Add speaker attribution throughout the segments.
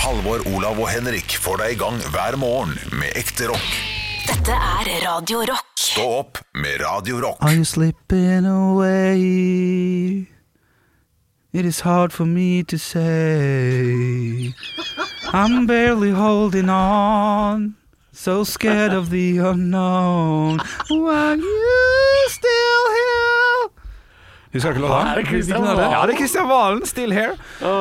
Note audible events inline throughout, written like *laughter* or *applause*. Speaker 1: Halvor, Olav og Henrik får deg i gang hver morgen med ekte rock.
Speaker 2: Dette er Radio Rock.
Speaker 1: Stå opp med Radio Rock.
Speaker 3: Are you slipping away? It is hard for me to say. I'm barely holding on. So scared of the unknown. Are you still here? Husker ikke låta?
Speaker 4: Er det Christian
Speaker 3: Hvilken er det?
Speaker 4: Valen?
Speaker 3: Ja, det er Kristian Valen. Still here.
Speaker 4: Det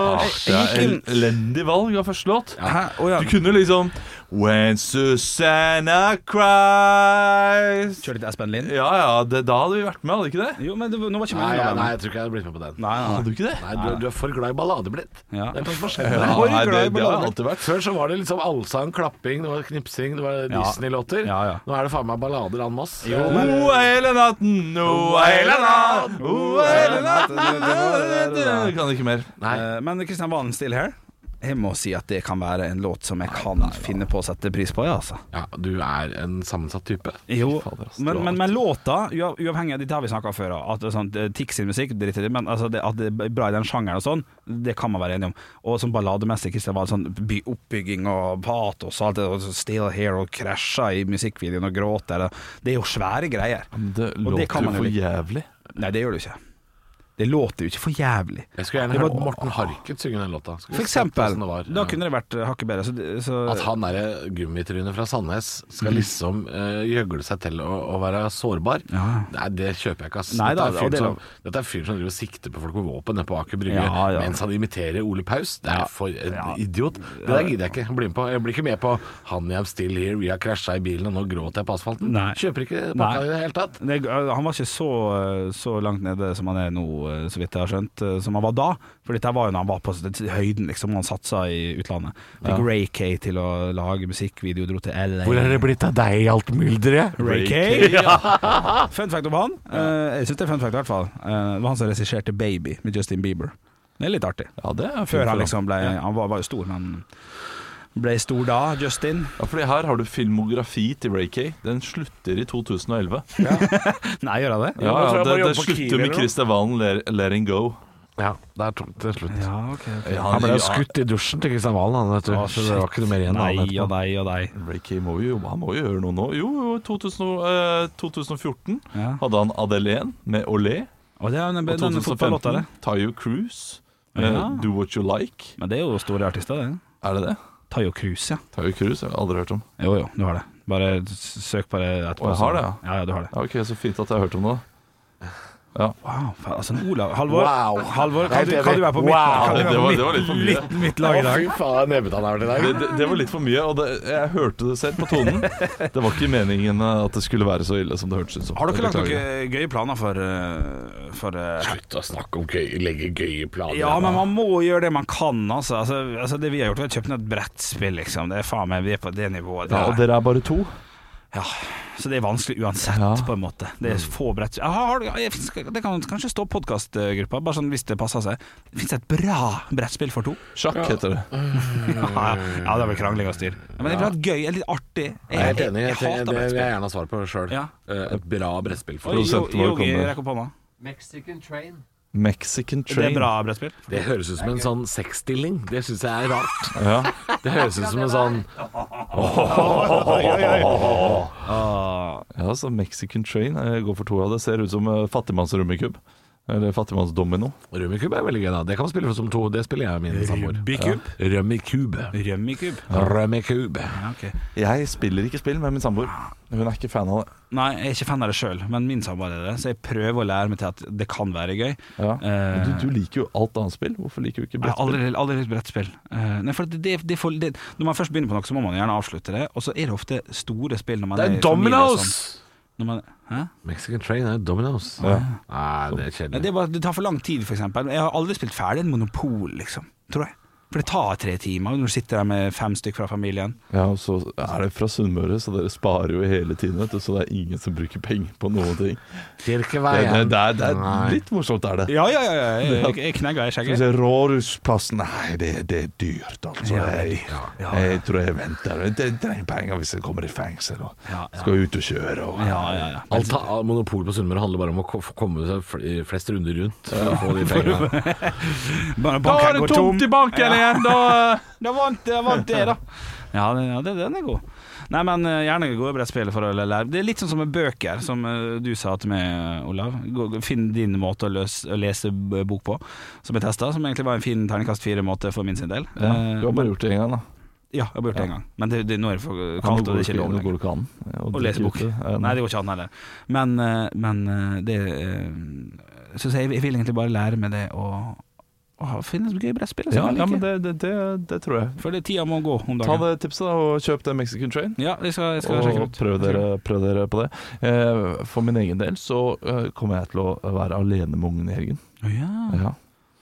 Speaker 3: Jeg
Speaker 4: er
Speaker 3: gikk inn-
Speaker 4: elendig valg av første låt.
Speaker 3: Hæ? Å ja.
Speaker 4: Du kunne liksom When Susanna cries
Speaker 3: Kjør litt Espen Lind.
Speaker 4: Ja ja, det, da hadde vi vært med, hadde ikke det?
Speaker 3: Jo, men det, nå var ikke
Speaker 5: Nei,
Speaker 3: meningen å
Speaker 5: ja,
Speaker 3: være
Speaker 5: nei,
Speaker 3: med.
Speaker 5: jeg tror ikke jeg hadde blitt med på den.
Speaker 3: Nei, nei,
Speaker 4: Hadde du ikke det?
Speaker 5: Nei, du, du er for glad i ballader blitt.
Speaker 3: Ja.
Speaker 5: Det er for forskjell.
Speaker 4: Ja,
Speaker 3: Hvor
Speaker 4: nei,
Speaker 3: glad i
Speaker 4: det, det har jeg
Speaker 3: ballader?
Speaker 4: alltid vært.
Speaker 5: Før så var det liksom allsang, klapping, det var knipsing, det var Disney-låter.
Speaker 3: Ja, ja.
Speaker 5: Nå er det faen meg ballader an mass.
Speaker 4: Oh,
Speaker 3: eh.
Speaker 4: hele natten, oh, hele natten, oh, hele natten Kan ikke mer.
Speaker 5: Nei.
Speaker 3: Eh, Men Kristian Valen, still here. Jeg må si at det kan være en låt som jeg kan finne på å sette pris på, ja, altså.
Speaker 5: Ja, du er en sammensatt type.
Speaker 3: Jo,
Speaker 4: fader, ass, det
Speaker 3: men,
Speaker 4: var
Speaker 3: men, men låta, uav- uavhengig av dette har vi snakka før, at det er sånn, det er Tix sin musikk, drit i det, men altså, det, at det er bra i den sjangeren og sånn, det kan man være enig om. Og som ballademessig, Kristian Wahl, sånn by, oppbygging og patos og alt det, og så Still Here og krasja i musikkvideoen og gråter, og, det er jo svære greier.
Speaker 4: Det
Speaker 3: Og det kan
Speaker 4: låter jo
Speaker 3: man jo
Speaker 4: for
Speaker 3: like.
Speaker 4: jævlig.
Speaker 3: Nei, det gjør det jo ikke. Det låter jo ikke for jævlig.
Speaker 5: Jeg skulle gjerne
Speaker 3: Det var-
Speaker 5: hørt Morten Harket synge den låta. Skulle
Speaker 3: For
Speaker 5: sett
Speaker 3: eksempel,
Speaker 5: hvordan det var.
Speaker 3: da
Speaker 5: Ja.
Speaker 3: kunne det vært eh, hakket bedre. Så, det- så,
Speaker 5: At han derre gummitrynet fra Sandnes skal liksom eh, gjøgle seg til å, å være sårbar,
Speaker 3: Ja.
Speaker 5: nei, det kjøper jeg ikke, ass.
Speaker 3: Nei da, og
Speaker 5: dette, er
Speaker 3: det
Speaker 5: fyren
Speaker 3: er
Speaker 5: som, dette er fyren som driver og sikter på folk med våpen nede på Aker Brygge
Speaker 3: Ja, ja.
Speaker 5: mens han imiterer Ole Paus. Det er for en idiot. Det der gidder jeg ikke bli med på. Jeg blir ikke med på 'Han I'm still here, vi har krasja i bilen, og nå gråter jeg på asfalten'.
Speaker 3: Nei.
Speaker 5: Kjøper ikke
Speaker 3: Nei.
Speaker 5: pakka i det hele tatt.
Speaker 3: Det, han var ikke så, så langt nede som han er nå, eh, så vidt jeg har skjønt, som han var da. For dette var jo når han var på høyden, liksom, han satsa i utlandet. Fikk Ray Kay til å lage musikkvideo, dro til LA.
Speaker 5: det blitt av deg i alt mylderet?
Speaker 3: Ray Kay? Ja. *laughs* Fun fact om han. Eh, jeg syns det er fun fact, i hvert fall. Eh, det var han som regisserte 'Baby' med Justin Bieber. Det er litt artig.
Speaker 4: Ja, det er fint
Speaker 3: Før
Speaker 4: for
Speaker 3: han
Speaker 4: ham.
Speaker 3: liksom ble Han var, var jo stor, men ble stor da, Justin.
Speaker 4: Ja, fordi her har du filmografi til Ray Kay. Den slutter i 2011.
Speaker 3: Nei, gjør han det?
Speaker 5: nå tror
Speaker 4: Ja, ja,
Speaker 5: jeg bare
Speaker 4: det,
Speaker 5: jobber
Speaker 4: det
Speaker 5: på Kiwi
Speaker 4: slutter
Speaker 5: eller
Speaker 4: med
Speaker 5: noe.
Speaker 4: Christer Valen let, 'Letting Go'.
Speaker 5: Ja, det er tomt til slutt.
Speaker 3: Ja, ok, ok.
Speaker 4: Ja,
Speaker 5: Han ble jo
Speaker 4: ja,
Speaker 5: skutt i dusjen til Kristian Valen, han, vet du.
Speaker 3: Å,
Speaker 5: Så det var ikke noe mer igjen. av han
Speaker 3: Nei
Speaker 5: etterpå.
Speaker 3: og nei og nei.
Speaker 4: Ray Kay må jo, han må jo gjøre noe nå. Jo, jo 2000, og, eh, 2014
Speaker 3: Ja.
Speaker 4: hadde han Adelén med 'Olé'.
Speaker 3: Og det er den,
Speaker 4: Og
Speaker 3: den fotballåta, det.
Speaker 4: 2015 Tayo Cruise med
Speaker 3: Ja.
Speaker 4: 'Do What You Like'.
Speaker 3: Men det er jo store artister, det.
Speaker 4: Er det det?
Speaker 3: Tayo Cruz, ja.
Speaker 4: Tayo Cruise har jeg aldri hørt om.
Speaker 3: Jo jo, du har det. Bare s- søk på det etterpå.
Speaker 4: Å, jeg har det, ja.
Speaker 3: Ja, ja, du har det.
Speaker 4: Ja, ok, Så fint at jeg har hørt om det.
Speaker 3: Wow, faen, altså Olav Halvor,
Speaker 5: Wow.
Speaker 3: Halvor
Speaker 5: Nei,
Speaker 3: kan, du,
Speaker 5: det-
Speaker 3: kan du være på
Speaker 5: wow.
Speaker 3: mitt, kan du
Speaker 4: Det,
Speaker 3: være
Speaker 4: det,
Speaker 3: på
Speaker 4: var,
Speaker 3: mitt,
Speaker 4: det var litt for mye.
Speaker 3: mitt, mitt lag i dag?
Speaker 5: Å, fy faen, det er nebbete han er til i dag.
Speaker 4: Det, det, det var litt for mye, og det, jeg hørte det selv på tonen. Det var ikke meningen eh, at det skulle være så ille som det hørtes ut som.
Speaker 3: Har dere lagt
Speaker 4: Beklager.
Speaker 3: noen gøye planer for, eh, for eh,
Speaker 5: Slutt å snakke om gøy, legge gøye planer.
Speaker 3: Ja, men man må gjøre det man kan, altså. altså, altså det vi har gjort, vi har kjøpt ned et brettspill, liksom. Det er faen meg, vi er på det nivået.
Speaker 4: Ja, og
Speaker 3: der.
Speaker 4: dere er bare to?
Speaker 3: Ja, så det er vanskelig uansett,
Speaker 4: Ja.
Speaker 3: på en måte. Det er få brett Ja, har du- jeg skal- Det kan kanskje stå podkastgruppa, bare sånn hvis det passer seg. Det fins et bra brettspill for to.
Speaker 4: Sjakk heter det.
Speaker 3: Ja, ja, det er vel krangling og styr. Ja, men det er vel gøy, eller litt artig. Jeg,
Speaker 5: Jeg er helt enig. Jeg,
Speaker 3: jeg hater
Speaker 5: det vil jeg
Speaker 3: brettspill.
Speaker 5: gjerne ha svar på sjøl.
Speaker 3: Ja.
Speaker 5: Et bra brettspill.
Speaker 3: Oi,
Speaker 5: For
Speaker 3: jo-
Speaker 5: oss.
Speaker 4: Produsenten vår
Speaker 3: Yogi,
Speaker 4: kommer.
Speaker 3: rekk opp hånda.
Speaker 6: Mexican train.
Speaker 4: Mexican
Speaker 3: Det er
Speaker 4: train.
Speaker 3: bra brettspill.
Speaker 5: Det høres ut som en sånn sexstilling. Det syns jeg er rart.
Speaker 4: Ja.
Speaker 5: Det høres ut som en sånn
Speaker 3: Ah,
Speaker 4: ja, så Mexican train. Jeg går for to av det. Ser ut som eh, fattigmannsrummikub. Eller fattigmannsdomino.
Speaker 5: Rummikub er veldig gøy, da. Det kan man spille som to. Det spiller jeg med min samboer.
Speaker 3: Rubbikub?
Speaker 5: Ja. Rummikub.
Speaker 3: Rømmikub.
Speaker 5: Rummikub.
Speaker 3: Ja, ok.
Speaker 4: Jeg spiller ikke spill med min samboer. Hun er ikke fan av det.
Speaker 3: Nei, jeg er ikke fan av det sjøl, men min samboer er det, så jeg prøver å lære meg til at det kan være gøy.
Speaker 4: Ja.
Speaker 3: Eh,
Speaker 4: Du, du liker jo alt annet spill. Hvorfor liker du ikke
Speaker 3: Jeg har
Speaker 4: brettspill?
Speaker 3: aldri, aldri likt brettspill. Eh, nei, for det, det, det, får- det, når man først begynner på noe, så må man gjerne avslutte det. Og så er det ofte store spill når man
Speaker 5: Det
Speaker 3: i
Speaker 5: er
Speaker 3: familie
Speaker 5: Dominoes!
Speaker 3: og sånn. Når man, hæ?
Speaker 5: Mexican Train er Dominoes. Nei, det er
Speaker 3: Nei, det,
Speaker 5: kjedelig.
Speaker 3: er bare, det tar for lang tid, f.eks. Jeg har aldri spilt ferdig en Monopol, liksom. Tror jeg. For det tar tre timer når du sitter der med fem stykker fra familien.
Speaker 4: Ja, og så er det fra Sunnmøre, så dere sparer jo hele tiden, vet du. Så det er ingen som bruker penger på noen ting. Det,
Speaker 5: Kirkeveien.
Speaker 4: det, det, er, det
Speaker 5: Nei.
Speaker 4: er litt morsomt, er det.
Speaker 3: Ja, ja, ja, ja. *laughs* Jeg, jeg knegger i skjegget.
Speaker 4: Rådhusplassen Nei, det, det er dyrt, altså.
Speaker 3: Ja, det er
Speaker 4: Jeg, jeg tror jeg venter. Jeg trenger penger hvis jeg kommer i fengsel og
Speaker 3: Ja, ja.
Speaker 4: skal ut og kjøre. Og,
Speaker 3: Ja, ja, ja.
Speaker 5: Alt av monopol på Sunnmøre handler bare om å ko- få komme seg fl- flest runder rundt. For å få de pengene.
Speaker 3: Bare banken går tom.
Speaker 4: banken,
Speaker 3: Ja. igjen, da, da vant jeg vant det, da. *laughs* Ja, det, ja det, den er god. Nei, men eh, gjerne gå over det spillet for å lære. Det er litt sånn som med bøker, som eh, du sa til meg, Olav. Gå, gå- finn din måte å, løs, å lese b- bok på, som jeg testa, som egentlig var en fin terningkast fire-måte for min sin del.
Speaker 4: *laughs* Ja,
Speaker 3: Eh,
Speaker 4: du har bare gjort det én gang, da.
Speaker 3: ja, jeg har gjort det en gang, men det, det, nå er det for
Speaker 4: Kan
Speaker 3: kaldt, og det er ikke lov
Speaker 4: det eh,
Speaker 3: lenger.
Speaker 4: går ikke an. Ja,
Speaker 3: Å lese
Speaker 4: drikke
Speaker 3: bok.
Speaker 4: ute. Ja,
Speaker 3: Nei, det går ikke an heller. Men, eh, men eh, det eh, Så jeg, jeg vil egentlig bare lære meg det å, å ha- finne et gøy brettspill.
Speaker 4: ja,
Speaker 3: som jeg
Speaker 4: ja,
Speaker 3: liker.
Speaker 4: men det, det, det, det tror jeg.
Speaker 3: For det tida må gå om
Speaker 4: Ta
Speaker 3: dagen.
Speaker 4: det tipset da, og kjøp det Mexican Train.
Speaker 3: Ja, jeg skal, jeg skal sjekke
Speaker 4: Og
Speaker 3: ut.
Speaker 4: prøv dere, prøv dere på det. Eh, For min egen del så eh, kommer jeg til å være alene med ungen i helgen.
Speaker 3: Å ja.
Speaker 4: Ja.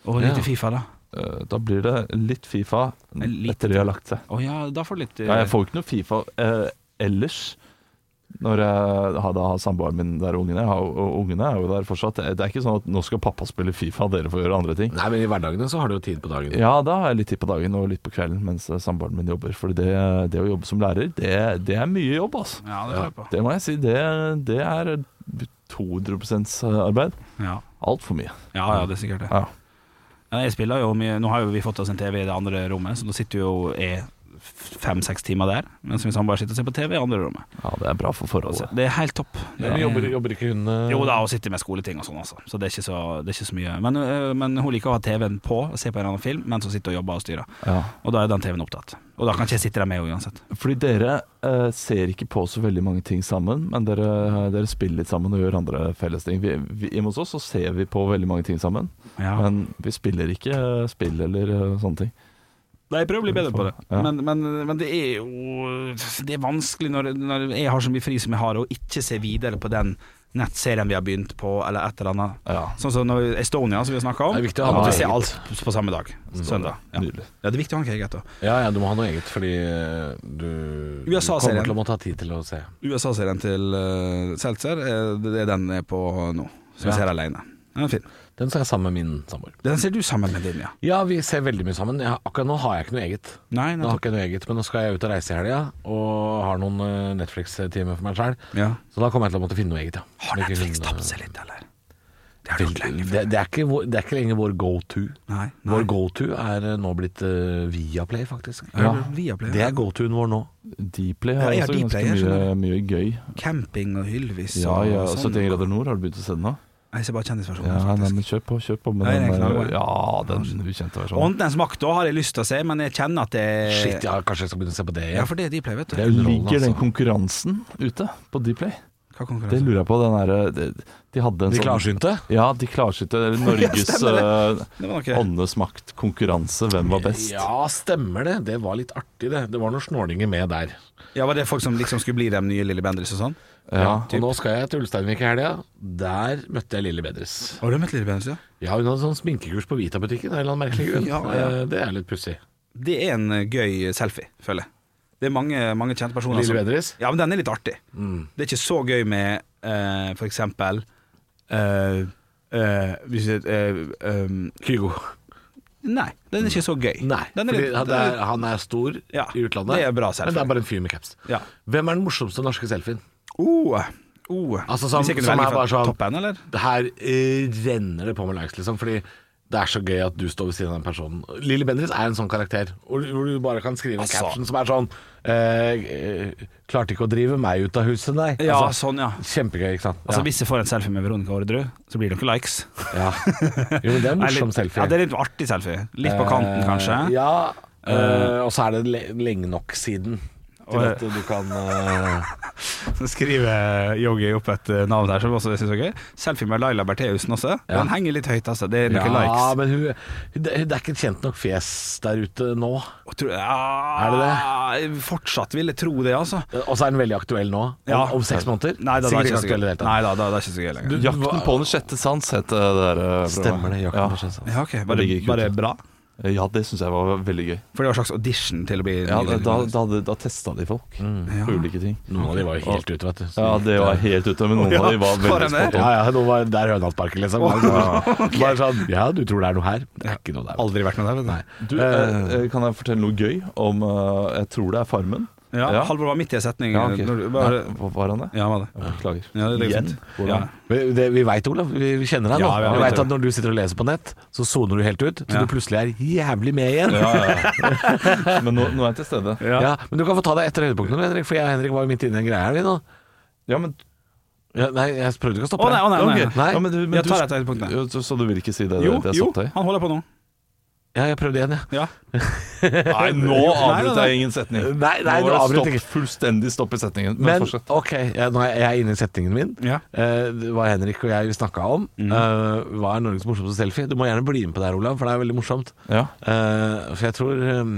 Speaker 3: Og litt
Speaker 4: Ja.
Speaker 3: Fifa, da.
Speaker 4: Eh, Da blir det litt Fifa
Speaker 3: Litt.
Speaker 4: etter de har lagt seg.
Speaker 3: Å ja, da får du litt eh,
Speaker 4: Ja, jeg får ikke noe Fifa eh, ellers. Når jeg har, da har samboeren min der og ungene, og, og ungene er jo der fortsatt. Det er ikke sånn at nå skal pappa spille Fifa, dere får gjøre andre ting.
Speaker 5: Nei, men i hverdagene så har du jo tid på dagen.
Speaker 4: Ja, da har jeg litt tid på dagen og litt på kvelden mens eh, samboeren min jobber. For det, det å jobbe som lærer, det, det er mye jobb, altså.
Speaker 3: Ja, det får jeg på.
Speaker 4: Det må jeg si. Det, det er 200 arbeid.
Speaker 3: Ja.
Speaker 4: Altfor mye.
Speaker 3: ja, ja, det er sikkert det.
Speaker 4: Ja.
Speaker 3: Ja, Jeg spiller jo mye Nå har jo vi fått oss en TV i det andre rommet, så nå sitter jo jeg fem-seks timer der, mens min samboer sitter og ser på TV i andre rommet.
Speaker 4: ja, det er bra for forholdet.
Speaker 3: Det er helt topp. Det er-
Speaker 5: ikke hun
Speaker 4: eh?
Speaker 3: Jo da, hun sitter med skoleting og sånn, altså. Så det er ikke så, det er ikke så mye. Men, øh, men hun liker å ha TV-en på og se på en eller annen film mens hun sitter og jobber og styrer.
Speaker 4: Ja.
Speaker 3: Og da er den TV-en opptatt. Og da kan ikke jeg sitte der med henne uansett.
Speaker 4: Fordi dere eh, ser ikke på så veldig mange ting sammen, men dere, dere spiller litt sammen og gjør andre felles ting. Vi, vi, Hjemme hos oss så ser vi på veldig mange ting sammen,
Speaker 3: Ja.
Speaker 4: men vi spiller ikke eh, spill eller eh, sånne ting.
Speaker 3: Nei, jeg prøver å bli bedre på det.
Speaker 4: Ja.
Speaker 3: Men, men, men det er jo Det er vanskelig når, når jeg har så mye fri som jeg har, og ikke ser videre på den nettserien vi har begynt på, eller et eller annet.
Speaker 4: Ja.
Speaker 3: Sånn som når Estonia, som vi har snakka om.
Speaker 5: Det er viktig å ha Mm. noe
Speaker 3: at vi ser alt
Speaker 5: eget.
Speaker 3: på samme dag. Søndag. Ja.
Speaker 4: Nydelig.
Speaker 3: ja, det er viktig å ha noe eget òg.
Speaker 5: Ja, ja, du må ha noe eget, fordi eh, du, du
Speaker 3: USA-serien.
Speaker 5: kommer til å måtte ha tid til å se.
Speaker 3: USA-serien til uh, Seltzer, eh, det er den jeg er på nå, som
Speaker 5: Ja.
Speaker 3: jeg ser alene. Den er fin.
Speaker 5: Den ser jeg sammen med min samboer.
Speaker 3: Den ser du sammen med din, ja.
Speaker 5: Ja, vi ser veldig mye sammen. Jeg, har- akkurat nå har jeg ikke noe eget.
Speaker 3: Nei,
Speaker 5: Nå har
Speaker 3: nettopp.
Speaker 5: jeg ikke noe eget, Men nå skal jeg ut og reise i helga, og har noen eh, Netflix-timer for meg sjøl.
Speaker 3: Ja.
Speaker 5: Så da kommer jeg til å måtte finne noe eget, ja.
Speaker 3: Har
Speaker 5: Det er ikke
Speaker 3: Netflix
Speaker 5: sånn, eh,
Speaker 3: tapt seg litt, eller? Det har de gjort lenge.
Speaker 5: det, det, er ikke vår, det er ikke lenger vår go to.
Speaker 3: Nei, nei.
Speaker 5: Vår go to er eh, nå blitt eh, Viaplay, faktisk.
Speaker 3: Ja, Viaplay,
Speaker 5: Det
Speaker 3: ja.
Speaker 5: er go to-en vår nå.
Speaker 4: Dplay har
Speaker 3: Ja, ja,
Speaker 4: også
Speaker 3: Dplay, jeg
Speaker 4: ganske mye,
Speaker 3: skjønner.
Speaker 4: mye gøy.
Speaker 3: Camping og Hylvis
Speaker 4: Ja,
Speaker 3: og
Speaker 4: ja,
Speaker 3: sånn.
Speaker 4: 71 grader nord, har du begynt å se den nå?
Speaker 3: Jeg ser bare kjendisversjonen.
Speaker 4: Ja, nei,
Speaker 3: faktisk.
Speaker 4: men kjøp på, kjøp på. Med
Speaker 3: Nei, det
Speaker 4: den,
Speaker 3: er ikke noe.
Speaker 4: der- ja, den ukjente versjonen.
Speaker 3: Åndenes makt òg har jeg lyst til å se, men jeg kjenner at det
Speaker 5: Shit, ja, kanskje jeg skal begynne å se på det
Speaker 3: Eh, Ja,
Speaker 5: igjen.
Speaker 3: for det er Dplay, vet
Speaker 5: Det
Speaker 3: du.
Speaker 5: er underholdende,
Speaker 4: Ligger den
Speaker 5: altså.
Speaker 4: konkurransen ute på Dplay?
Speaker 3: Hva
Speaker 4: Det
Speaker 3: konkurranse?
Speaker 4: lurer jeg på. Den derre de, de hadde en
Speaker 5: De
Speaker 4: sånn
Speaker 5: klarsynte?
Speaker 4: Ja, de klarsynte. eller Norges
Speaker 3: Det var
Speaker 4: eh,
Speaker 3: noe.
Speaker 4: åndenes makt-konkurranse. Hvem var best?
Speaker 5: Ja, stemmer det. Det var litt artig, det. Det var noen snålinger med der.
Speaker 3: Ja, Var det folk som liksom skulle bli de nye Lilly Bendriss og sånn?
Speaker 4: Ja.
Speaker 5: Og nå skal jeg til Ulsteinvik i helga. Der møtte jeg Lille Bedres.
Speaker 3: Har du møtt Lilly Bendriss, ja?
Speaker 5: Ja, hun hadde sånn sminkekurs på Vita-butikken. av en eller annen merkelig grunn.
Speaker 3: *laughs* Ja, ja.
Speaker 5: Eh, Det er litt pussig.
Speaker 3: Det er en eh, gøy selfie, føler jeg. Det er mange, mange kjente personer
Speaker 5: Lilly Bendriss? Mm.
Speaker 3: Ja, men den er litt artig. Det er ikke så gøy med eh, for eksempel eh, eh, hvis det, eh, um,
Speaker 5: Kygo.
Speaker 3: Nei, den er ikke så gøy.
Speaker 5: Nei,
Speaker 3: den er
Speaker 5: fordi
Speaker 3: litt,
Speaker 5: han, er, han er stor
Speaker 3: Ja,
Speaker 5: i utlandet.
Speaker 3: det er bra selfie.
Speaker 5: men det er bare en fyr med caps.
Speaker 3: Ja.
Speaker 5: Hvem er den morsomste norske selfien?
Speaker 3: Oh, oh.
Speaker 5: Altså, som-
Speaker 3: Hvis jeg kunne
Speaker 5: som
Speaker 3: velge
Speaker 5: er
Speaker 3: fra
Speaker 5: bare sånn-
Speaker 3: toppen, eller?
Speaker 5: Det her eh, renner det på med likes, liksom. Fordi det er så gøy at du står ved siden av den personen. Lilly Bendriss er en sånn karakter. Hvor hvor du bare kan skrive en
Speaker 3: Altså.
Speaker 5: caption som er sånn eh, eh, Klarte ikke å drive meg ut av huset, nei.
Speaker 3: Ja,
Speaker 5: Altså,
Speaker 3: sånn, ja.
Speaker 5: kjempegøy, ikke sant.
Speaker 3: Altså
Speaker 5: Ja.
Speaker 3: Hvis jeg får en selfie med Veronica Orderud, så blir det ikke likes.
Speaker 5: Ja. Jo, men det er en
Speaker 3: Nei,
Speaker 5: morsom
Speaker 3: litt-
Speaker 5: selfie.
Speaker 3: Ja, det *laughs* er litt artig selfie. Litt på kanten,
Speaker 5: Eh,
Speaker 3: kanskje.
Speaker 5: Ja, eh, og så er det le- lenge nok siden til
Speaker 3: Og-
Speaker 5: at du kan
Speaker 3: *laughs*
Speaker 5: eh,
Speaker 3: Så skriver Yogi opp et eh, navn der som også jeg synes er gøy. Selfie med Laila Bertheussen også.
Speaker 5: Ja.
Speaker 3: Den henger litt høyt, altså. Det er
Speaker 5: Ja,
Speaker 3: noen likes.
Speaker 5: men hun, hun, det, det er ikke et kjent nok fjes der ute nå.
Speaker 3: Og tror- ja, Fortsatt vil jeg tro det, altså.
Speaker 5: Og så er den veldig aktuell nå. Om,
Speaker 3: Ja.
Speaker 5: om seks måneder.
Speaker 3: Nei da, det er ikke
Speaker 5: Sikkert ikke
Speaker 3: så
Speaker 5: aktuell i
Speaker 3: gøy.
Speaker 5: det hele tatt.
Speaker 3: Nei da, da, det er ikke så gøy lenger.
Speaker 5: Du-
Speaker 4: Jakten på den sjette sans het det der. eh, programmet.
Speaker 5: Stemmer det. Jakob
Speaker 4: Ja.
Speaker 5: Marcel.
Speaker 3: Ja, ok. Var det,
Speaker 4: ligger ikke
Speaker 3: var det
Speaker 4: ute.
Speaker 3: bra?
Speaker 4: Ja, det syns jeg var veldig gøy.
Speaker 3: For det var en slags audition til å bli
Speaker 4: Ja,
Speaker 3: ny Lilly
Speaker 4: da da,
Speaker 3: Bendriss.
Speaker 4: da, hadde- da testa de folk
Speaker 3: Ja.
Speaker 4: på ulike ting.
Speaker 5: Noen av de var jo helt ute, vet du. Så-
Speaker 4: Ja, det var helt ute, men noen av de
Speaker 3: var
Speaker 4: var
Speaker 3: den
Speaker 4: veldig
Speaker 3: der?
Speaker 4: spot
Speaker 5: ja,
Speaker 4: on.
Speaker 5: ja, nå var der Hønehavsparken, liksom. Bare sånn Ja, du tror det er noe her? Det er ikke noe der.
Speaker 3: Aldri vært med der, vet du.
Speaker 5: Nei.
Speaker 4: Du, eh, eh, kan jeg fortelle noe gøy om eh, Jeg tror det er Farmen.
Speaker 3: Ja,
Speaker 4: Ja.
Speaker 3: Halvor var midt i en setning.
Speaker 4: Ja, ok.
Speaker 3: Når du bare,
Speaker 4: Nei, hva- var han det?
Speaker 3: ja han var det.
Speaker 4: Beklager.
Speaker 3: Ja, det ligger
Speaker 4: Igjen?
Speaker 3: sant.
Speaker 4: Hvordan?
Speaker 3: Ja.
Speaker 5: Vi, det, vi veit, Olav. Vi, vi kjenner deg nå.
Speaker 3: Ja, vi
Speaker 5: vi
Speaker 3: vet
Speaker 5: vet at når du sitter og leser på nett, så soner du helt ut til
Speaker 3: Ja.
Speaker 5: du plutselig er jævlig med igjen. Ja.
Speaker 4: Ja, ja, ja. Men nå, nå er jeg til stede.
Speaker 3: Ja.
Speaker 5: Men du kan få ta deg etter høydepunktene, Henrik, for jeg og Henrik var jo midt inne i en greie her, vi nå.
Speaker 4: Ja, men,
Speaker 5: Ja, nei, jeg prøvde
Speaker 3: Å
Speaker 5: ikke å stoppe
Speaker 3: nei, å nei, å nei.
Speaker 5: Ok. Nei.
Speaker 4: ja, men, du, men
Speaker 3: Jeg
Speaker 4: du-
Speaker 3: tar et høydepunkt, nei.
Speaker 4: Jo, Så, så du vil ikke si det,
Speaker 3: Jo,
Speaker 4: det jeg
Speaker 3: jo,
Speaker 4: satte deg?
Speaker 3: han holder på nå.
Speaker 5: Ja, jeg prøvde igjen, ja.
Speaker 3: Ja.
Speaker 4: Nei, nå
Speaker 3: Nei,
Speaker 4: avbrøt
Speaker 3: nei,
Speaker 4: jeg ingen setning.
Speaker 5: Nei, nei,
Speaker 4: nå
Speaker 5: nå
Speaker 4: var
Speaker 5: avbrøt
Speaker 4: det
Speaker 5: jeg
Speaker 4: stopp, fullstendig stopp i setningen. Men,
Speaker 5: Men
Speaker 4: fortsett.
Speaker 5: ok, jeg, nå er jeg inne i settingen min.
Speaker 3: Ja. Mm.
Speaker 5: Eh, det var Henrik og jeg vi snakka om. Eh, hva er Norges morsomste selfie? Du må gjerne bli med på det her, Olav, for det er veldig morsomt.
Speaker 4: Ja.
Speaker 5: Eh, for jeg tror um,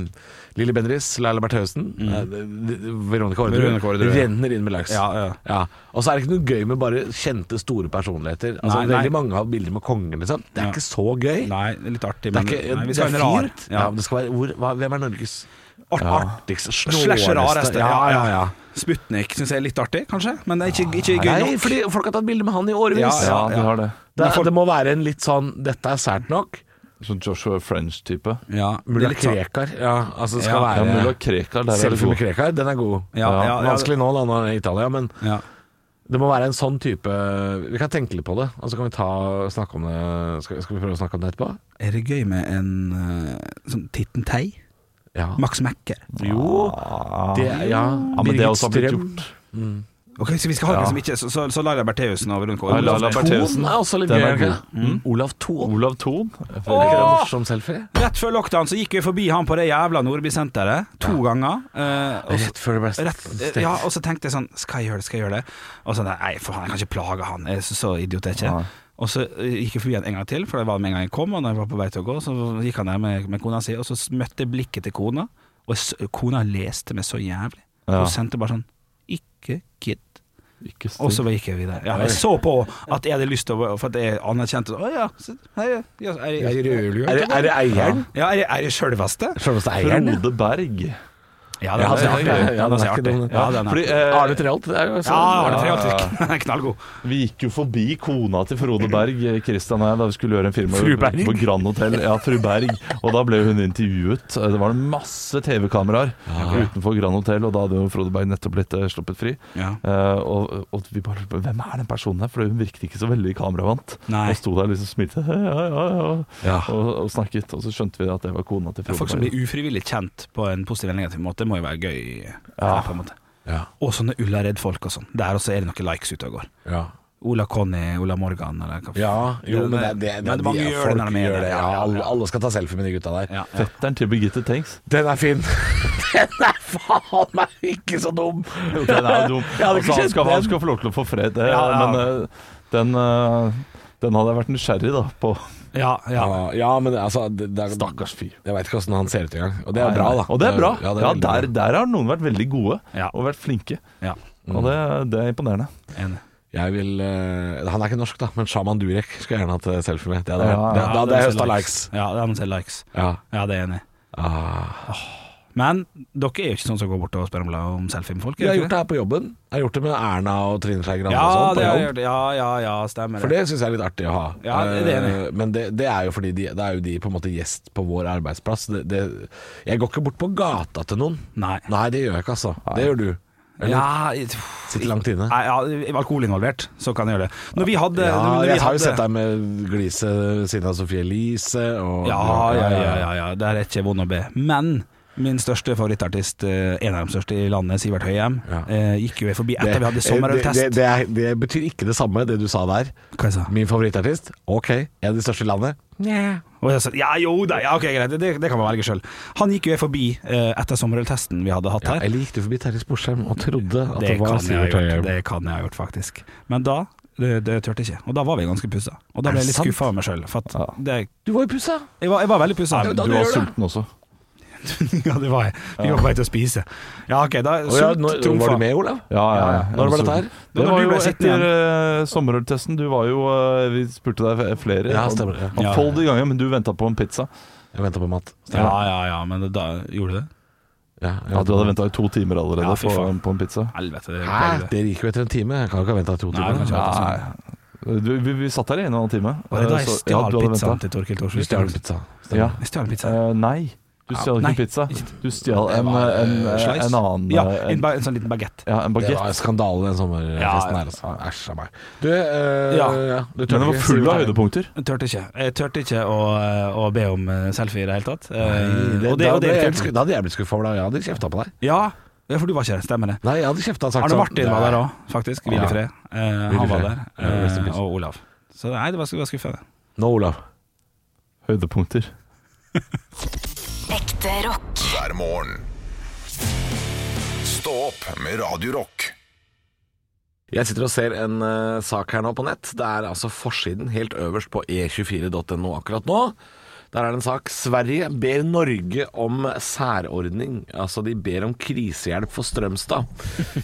Speaker 5: Lilly Bendriss, Laila Bertheussen, eh, d- d- Veronica
Speaker 3: Mm. Veronica
Speaker 5: Orderud
Speaker 3: Orderud, ja.
Speaker 5: renner inn med likes.
Speaker 3: Ja, ja.
Speaker 5: Og så er det ikke noe gøy med bare kjente, store personligheter. Altså,
Speaker 3: Nei, nei.
Speaker 5: Veldig mange har bilder med kongen, liksom. Det er
Speaker 3: Ja.
Speaker 5: ikke så gøy.
Speaker 3: Nei, det er litt artig,
Speaker 5: Det
Speaker 3: men
Speaker 5: er, ikke,
Speaker 3: nei, vi
Speaker 5: det
Speaker 3: skal
Speaker 5: er
Speaker 3: ha en rar.
Speaker 5: fint. Ja.
Speaker 3: Ja.
Speaker 5: men det skal være, hvor, hva, hvem er Norges
Speaker 3: Art,
Speaker 5: ja.
Speaker 3: art.
Speaker 5: artigste,
Speaker 3: Slash rareste.
Speaker 5: Ja, ja, ja. Ah,
Speaker 3: Sputnik syns jeg er litt artig, kanskje, men det er ikke, ikke gøy
Speaker 5: Nei,
Speaker 3: nok.
Speaker 5: fordi folk har tatt bilde med han i årevis.
Speaker 3: Ja,
Speaker 4: ja, du har det.
Speaker 5: Det, er- det må være en litt sånn Dette er sært nok.
Speaker 4: Sånn Joshua French-type.
Speaker 3: Ja,
Speaker 5: Mulla
Speaker 3: litt sånn-
Speaker 5: Krekar. Ja, altså det skal
Speaker 3: Ja,
Speaker 4: Ja, Mulla
Speaker 5: være
Speaker 4: Krekar, der er det
Speaker 5: Selfie med
Speaker 4: god.
Speaker 5: Krekar, den er god.
Speaker 3: Ja, ja, ja,
Speaker 5: Vanskelig nå da, når han er i Italia, men
Speaker 3: Ja.
Speaker 5: det må være en sånn type Vi kan tenke litt på det, og så kan vi ta, snakke om det skal, skal vi prøve å snakke om det etterpå?
Speaker 3: Er det gøy med en eh, sånn Titten Tei?
Speaker 5: Ja.
Speaker 3: Max Mekker?
Speaker 5: Jo, det, ja.
Speaker 4: Ja, men det
Speaker 5: Birgit
Speaker 4: også har blitt
Speaker 5: Strøm.
Speaker 4: gjort.
Speaker 3: Ok, så vi skal ha noen som ikke Så, så, så Laila Bertheussen og Veronica
Speaker 4: Ja, Laila
Speaker 3: Orderud.
Speaker 4: Bertheussen.
Speaker 5: Thon er også litt
Speaker 4: Den
Speaker 5: gøy.
Speaker 4: er
Speaker 5: er det
Speaker 4: god. Mm.
Speaker 5: ikke det? Olav Thon.
Speaker 4: Olav Thon. Jeg
Speaker 5: Er
Speaker 4: føler
Speaker 5: ikke
Speaker 4: ikke
Speaker 5: det
Speaker 4: det
Speaker 5: en
Speaker 4: var-
Speaker 5: morsom selfie?
Speaker 3: Rett før lockdown så gikk vi forbi han på det jævla Nordbysenteret to ganger. eh, og så-
Speaker 5: Rett før det ble
Speaker 3: Rett,
Speaker 5: stengt.
Speaker 3: ja, og så tenkte jeg sånn Skal jeg gjøre det, skal jeg gjøre det? Og så nei, for han, jeg kan ikke plage han, jeg er så, så idiot jeg er ikke.
Speaker 4: Nei.
Speaker 3: Og så eh, gikk jeg forbi han en gang til, for det var med en gang jeg kom. Og når jeg var på vei til å gå, så gikk han der med, med kona si, og så møtte jeg blikket til kona, og s kona leste meg så jævlig.
Speaker 4: Ja.
Speaker 3: Hun sendte bare sånn Ikke gidd.
Speaker 4: Ikke stil.
Speaker 3: Og så gikk jeg videre. Ja, jeg så på at jeg hadde lyst til å For at jeg anerkjente Å ja, så- hei, ja, ja, er jeg- er jeg-
Speaker 5: Er det, er det eieren?
Speaker 3: ja, er jeg- er jeg sjølveste?
Speaker 5: Sjølveste eieren?
Speaker 4: Frode Berg.
Speaker 3: Ja,
Speaker 5: Ja,
Speaker 3: den er
Speaker 5: den er
Speaker 3: artig. Den er
Speaker 5: gøy. Ja,
Speaker 3: så
Speaker 5: den er ikke dum,
Speaker 3: artig.
Speaker 5: den.
Speaker 3: Ja, den er
Speaker 4: Fordi,
Speaker 3: artig.
Speaker 4: eh,
Speaker 5: Arne Treholt? det er jo
Speaker 3: Ja,
Speaker 5: sånn.
Speaker 3: Arne
Speaker 5: Ja.
Speaker 3: Treholt er knallgod. *laughs*
Speaker 4: Vi gikk jo forbi kona til Frode Berg eh, Christian og jeg, da vi skulle gjøre en film
Speaker 5: Fru Berg?
Speaker 4: på Grand Hotel. Ja, fru Berg. Og da ble hun intervjuet. Eh, Det var masse TV-kameraer utenfor Grand Hotel, og da hadde jo Frode Berg nettopp blitt eh, sluppet fri.
Speaker 3: Ja.
Speaker 4: Eh, og, og vi bare lurte på, Hvem er den personen her? For hun virket ikke så veldig kameravant.
Speaker 3: Nei.
Speaker 4: Og sto der og liksom smilte *laughs* ja, ja, ja,
Speaker 5: Ja.
Speaker 4: Og, og snakket. Og så skjønte vi at det var kona til
Speaker 3: Ja, Folk
Speaker 4: Frode
Speaker 3: som blir
Speaker 4: Berg.
Speaker 3: ufrivillig kjent på en positiv eller negativ måte, må jo være gøy. eh,
Speaker 4: Ja.
Speaker 3: På en måte.
Speaker 5: Ja.
Speaker 3: Og sånne Ullared-folk og sånn. Der også er det noen likes ute og går.
Speaker 5: Ja.
Speaker 3: Ola Conny, Ola Morgan eller hva
Speaker 5: Ja, jo, men det, det, det,
Speaker 3: Men mange
Speaker 5: de-
Speaker 3: gjør
Speaker 5: folk
Speaker 3: det når de er
Speaker 5: gjør
Speaker 3: der.
Speaker 5: det. Ja,
Speaker 3: Ja, ja, ja.
Speaker 5: alle, alle skal ta selfie med de gutta der. *laughs*
Speaker 3: Ja, ja.
Speaker 4: Fetteren til Birgitte Tengs.
Speaker 5: Den er fin! *laughs* Den er faen meg ikke så dum!
Speaker 4: Jo, Den er jo dum.
Speaker 5: Jeg hadde
Speaker 4: altså,
Speaker 5: ikke
Speaker 4: han,
Speaker 5: kjent
Speaker 4: skal, han
Speaker 5: den.
Speaker 4: skal få lov til å få fred, eh,
Speaker 3: Ja, ja.
Speaker 4: men eh, den, eh, den hadde jeg vært nysgjerrig da, på.
Speaker 3: ja, ja.
Speaker 5: Ja, ja, men altså det, det er,
Speaker 4: Stakkars fyr.
Speaker 5: Jeg veit ikke åssen han ser ut engang. Og det er bra, da.
Speaker 4: Og det er bra. Ja,
Speaker 5: det er veldig
Speaker 4: der,
Speaker 5: bra.
Speaker 4: der har noen vært veldig gode
Speaker 3: Ja.
Speaker 4: og vært flinke.
Speaker 3: ja.
Speaker 4: Og det, det er imponerende.
Speaker 3: Enig.
Speaker 5: Jeg vil eh, Han er ikke norsk, da, men Shaman Durek skulle jeg gjerne hatt eh, selfie med. Det hadde
Speaker 4: Ja,
Speaker 5: vært- det-
Speaker 4: ja,
Speaker 5: Da hadde jeg
Speaker 3: Ja,
Speaker 5: høsta likes.
Speaker 3: Ja, det er noen som ser likes.
Speaker 5: Ja.
Speaker 3: Ja, det er jeg enig. i.
Speaker 5: Ah.
Speaker 3: Men dere er jo ikke sånn som går bort og spør om, om selfie med folk?
Speaker 5: Jeg
Speaker 3: er
Speaker 5: har
Speaker 3: dere
Speaker 5: gjort det her på jobben. Jeg har gjort det med Erna og Trine Skei Grande
Speaker 3: Ja,
Speaker 5: og sånn. på
Speaker 3: det har
Speaker 5: jobb.
Speaker 3: jeg gjort. Ja, ja, ja, stemmer
Speaker 5: For det syns jeg er litt artig å ha.
Speaker 3: Ja, det er det enig i.
Speaker 5: Eh, Men det, det er jo fordi de, det er jo de på en måte gjest på vår arbeidsplass. Det, det, jeg går ikke bort på gata til noen.
Speaker 3: Nei.
Speaker 5: Nei, det gjør jeg ikke, altså. Det gjør du. Eller
Speaker 3: Ja,
Speaker 5: sitter langt inne.
Speaker 3: Nei, ja, er alkohol involvert, så kan jeg gjøre det. Når vi hadde
Speaker 5: ja,
Speaker 3: når vi
Speaker 5: jeg har jo
Speaker 3: hadde-
Speaker 5: sett deg med gliset ved siden av Sofie Elise og
Speaker 3: Ja, ja, ja, ja, ja. Der er ikke vond å be. Men min største favorittartist, eh, en av de største i landet, Sivert Høyem,
Speaker 5: Ja.
Speaker 3: eh, gikk jo jeg forbi etter
Speaker 5: Det-
Speaker 3: vi hadde
Speaker 5: Det,
Speaker 3: sommerøltest.
Speaker 5: det, det, er- det betyr ikke det samme, det du sa der.
Speaker 3: Hva jeg sa
Speaker 5: Min favorittartist, ok, en av de største i landet.
Speaker 3: Og jeg sa? Ja, jo da, ja, ok, greit, det, det kan man velge sjøl. Han gikk jo jeg forbi eh, etter sommerøltesten vi hadde hatt
Speaker 5: Ja,
Speaker 3: her.
Speaker 5: eller gikk du forbi Terje Sporsheim og trodde at det,
Speaker 3: det,
Speaker 5: var
Speaker 3: kan jeg
Speaker 5: Sivert
Speaker 3: ha gjort,
Speaker 5: Høyem?
Speaker 3: det kan jeg ha gjort, faktisk. Men da det, det turte jeg ikke. Og da var vi ganske pussa. Og da
Speaker 5: Er
Speaker 3: ble jeg
Speaker 5: det
Speaker 3: litt
Speaker 5: sant?
Speaker 3: skuffa over meg sjøl. For at
Speaker 4: Ja.
Speaker 3: det,
Speaker 5: Du var jo pussa!
Speaker 3: jeg, var, jeg var veldig pussa.
Speaker 5: men
Speaker 4: Du
Speaker 5: da- du
Speaker 4: var
Speaker 5: gjør det.
Speaker 4: sulten også.
Speaker 3: *laughs* ja, det var jeg. Vi var på vei til å spise. Ja, ok, da
Speaker 5: Og ja, nå-
Speaker 3: trumfa.
Speaker 5: var du med, Olav?
Speaker 4: Ja, ja, ja.
Speaker 5: Når var dette her?
Speaker 4: Det
Speaker 3: Når
Speaker 4: var
Speaker 3: du
Speaker 4: jo
Speaker 3: ble sittende
Speaker 4: etter eh, sommerøltesten. Du var jo eh, Vi spurte deg flere.
Speaker 5: Ja, stemmer det, ja.
Speaker 4: Mangfoldige ganger, men du venta på en pizza.
Speaker 5: Jeg venter på mat.
Speaker 3: Ja, ja, ja, men da gjorde du det?
Speaker 5: Ja, jeg
Speaker 4: Ja,
Speaker 5: venter
Speaker 4: Du
Speaker 5: på
Speaker 4: hadde
Speaker 5: mat.
Speaker 4: venta i to timer allerede
Speaker 3: Ja, fy
Speaker 4: på,
Speaker 3: faen.
Speaker 4: på en pizza.
Speaker 3: Helvete. det
Speaker 5: Hæ?
Speaker 3: er jo det.
Speaker 5: Dere gikk jo etter en time. Jeg kan jo ikke vente to
Speaker 3: Nei,
Speaker 5: timer.
Speaker 3: kanskje
Speaker 5: Ja.
Speaker 3: ikke.
Speaker 5: sånn.
Speaker 4: Du, vi, vi satt der i en og en halv time.
Speaker 3: Var det da
Speaker 4: Eh,
Speaker 3: jeg
Speaker 4: så- ja,
Speaker 3: stjal
Speaker 4: du hadde
Speaker 3: pizzaen
Speaker 4: ventet.
Speaker 3: til Torkild
Speaker 5: Du
Speaker 3: Thorsvik?
Speaker 5: stjal en pizza.
Speaker 4: Ja.
Speaker 3: Jeg stjal en pizza.
Speaker 4: Eh, nei. Du stjal ikke
Speaker 3: Nei.
Speaker 4: en pizza. Du stjal en,
Speaker 5: var, eh,
Speaker 4: en,
Speaker 5: slice.
Speaker 4: en annen
Speaker 3: Ja,
Speaker 4: eh,
Speaker 3: en, ba- en sånn liten bagett.
Speaker 4: ja, en
Speaker 5: Det
Speaker 4: bagett.
Speaker 5: var en skandale den sommerfesten
Speaker 3: Ja.
Speaker 5: her, altså. Æsj a meg. Du, eh,
Speaker 3: Ja.
Speaker 5: du tør
Speaker 4: Men den var
Speaker 5: ikke si
Speaker 4: full av
Speaker 5: det.
Speaker 4: høydepunkter.
Speaker 3: Jeg turte ikke Jeg turte ikke å, å be om eh, selfie i det hele tatt. Eh,
Speaker 5: Det,
Speaker 3: og det,
Speaker 5: da,
Speaker 3: og det,
Speaker 5: ble jeg
Speaker 3: irriterte
Speaker 5: helt
Speaker 3: meg.
Speaker 5: sku- da hadde jeg blitt skuffa over deg, og jeg hadde kjefta på deg.
Speaker 3: ja, ja, for du var ikke der. Stemmer det.
Speaker 5: Nei, jeg hadde kjefta og sagt
Speaker 3: Arne
Speaker 5: sånn,
Speaker 3: Martin var der òg, faktisk. Hvil
Speaker 5: Ja.
Speaker 3: i fred. Eh,
Speaker 5: Hvil i
Speaker 3: han var
Speaker 5: fred.
Speaker 3: der.
Speaker 5: Ja, rest in
Speaker 3: eh,
Speaker 5: peace.
Speaker 3: og Olav. Så nei, det var, det var skuffende.
Speaker 5: Nå, Olav.
Speaker 4: Høydepunkter.
Speaker 2: Ekte rock.
Speaker 1: hver morgen. Stå opp med Radio Rock.
Speaker 5: Jeg sitter og ser en eh, sak her nå på nett. Det er altså forsiden helt øverst på e e24.no akkurat nå. Der er det en sak. Sverige ber Norge om særordning. Altså, de ber om krisehjelp for Strømstad.